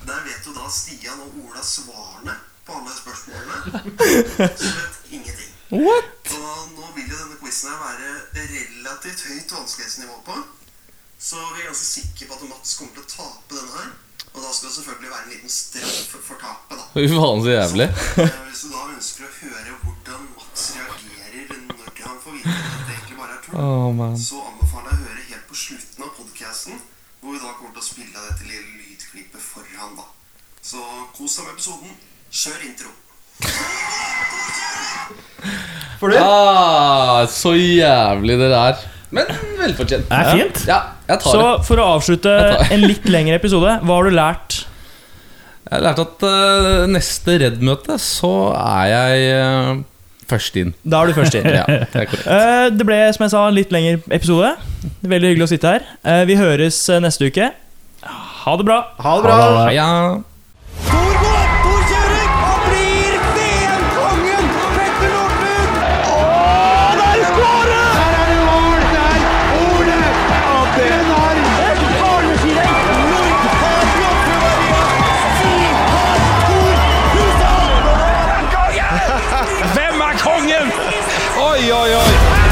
Der vet jo da Stian og Ola svarene på alle spørsmålene. Så vet ingenting. What? Og nå vil jo denne quizen her være relativt høyt vanskelighetsnivå på. Så vi er ganske sikre på at Mats kommer til å tape denne her. Og da skal det selvfølgelig være en liten straff for tapet, da.
Fy faen, så [laughs] jævlig.
Eh, Hvis du da ønsker å høre hvordan Mats reagerer når han får vite at det egentlig bare er tull,
så anbefaler jeg å høre helt på slutten av podcasten, hvor vi da kommer til å spille dette lille lydklippet for han, da. Så kos deg med episoden. Kjør intro. For det.
Ah, så jævlig dere er. Men velfortjent.
Det er fint.
Ja, jeg tar
Så
det.
for å avslutte en litt lengre episode, hva har du lært?
Jeg lærte at eh, neste Redd-møte så er jeg eh, først inn.
Da er du først inn.
[laughs] Ja, det er korrekt.
Eh, Det ble som jeg sa, en litt lengre episode. Veldig hyggelig å sitte her. Eh, Vi høres eh, neste uke. Ha det bra.
Ha det bra.
Heia.
Tor går opp, Tor kjører! Han blir VM-kongen! Petter Northug! Og der skårer! Der er det mål! Der Ole Abdenar! Hvem er kongen? Oi, oi, oi!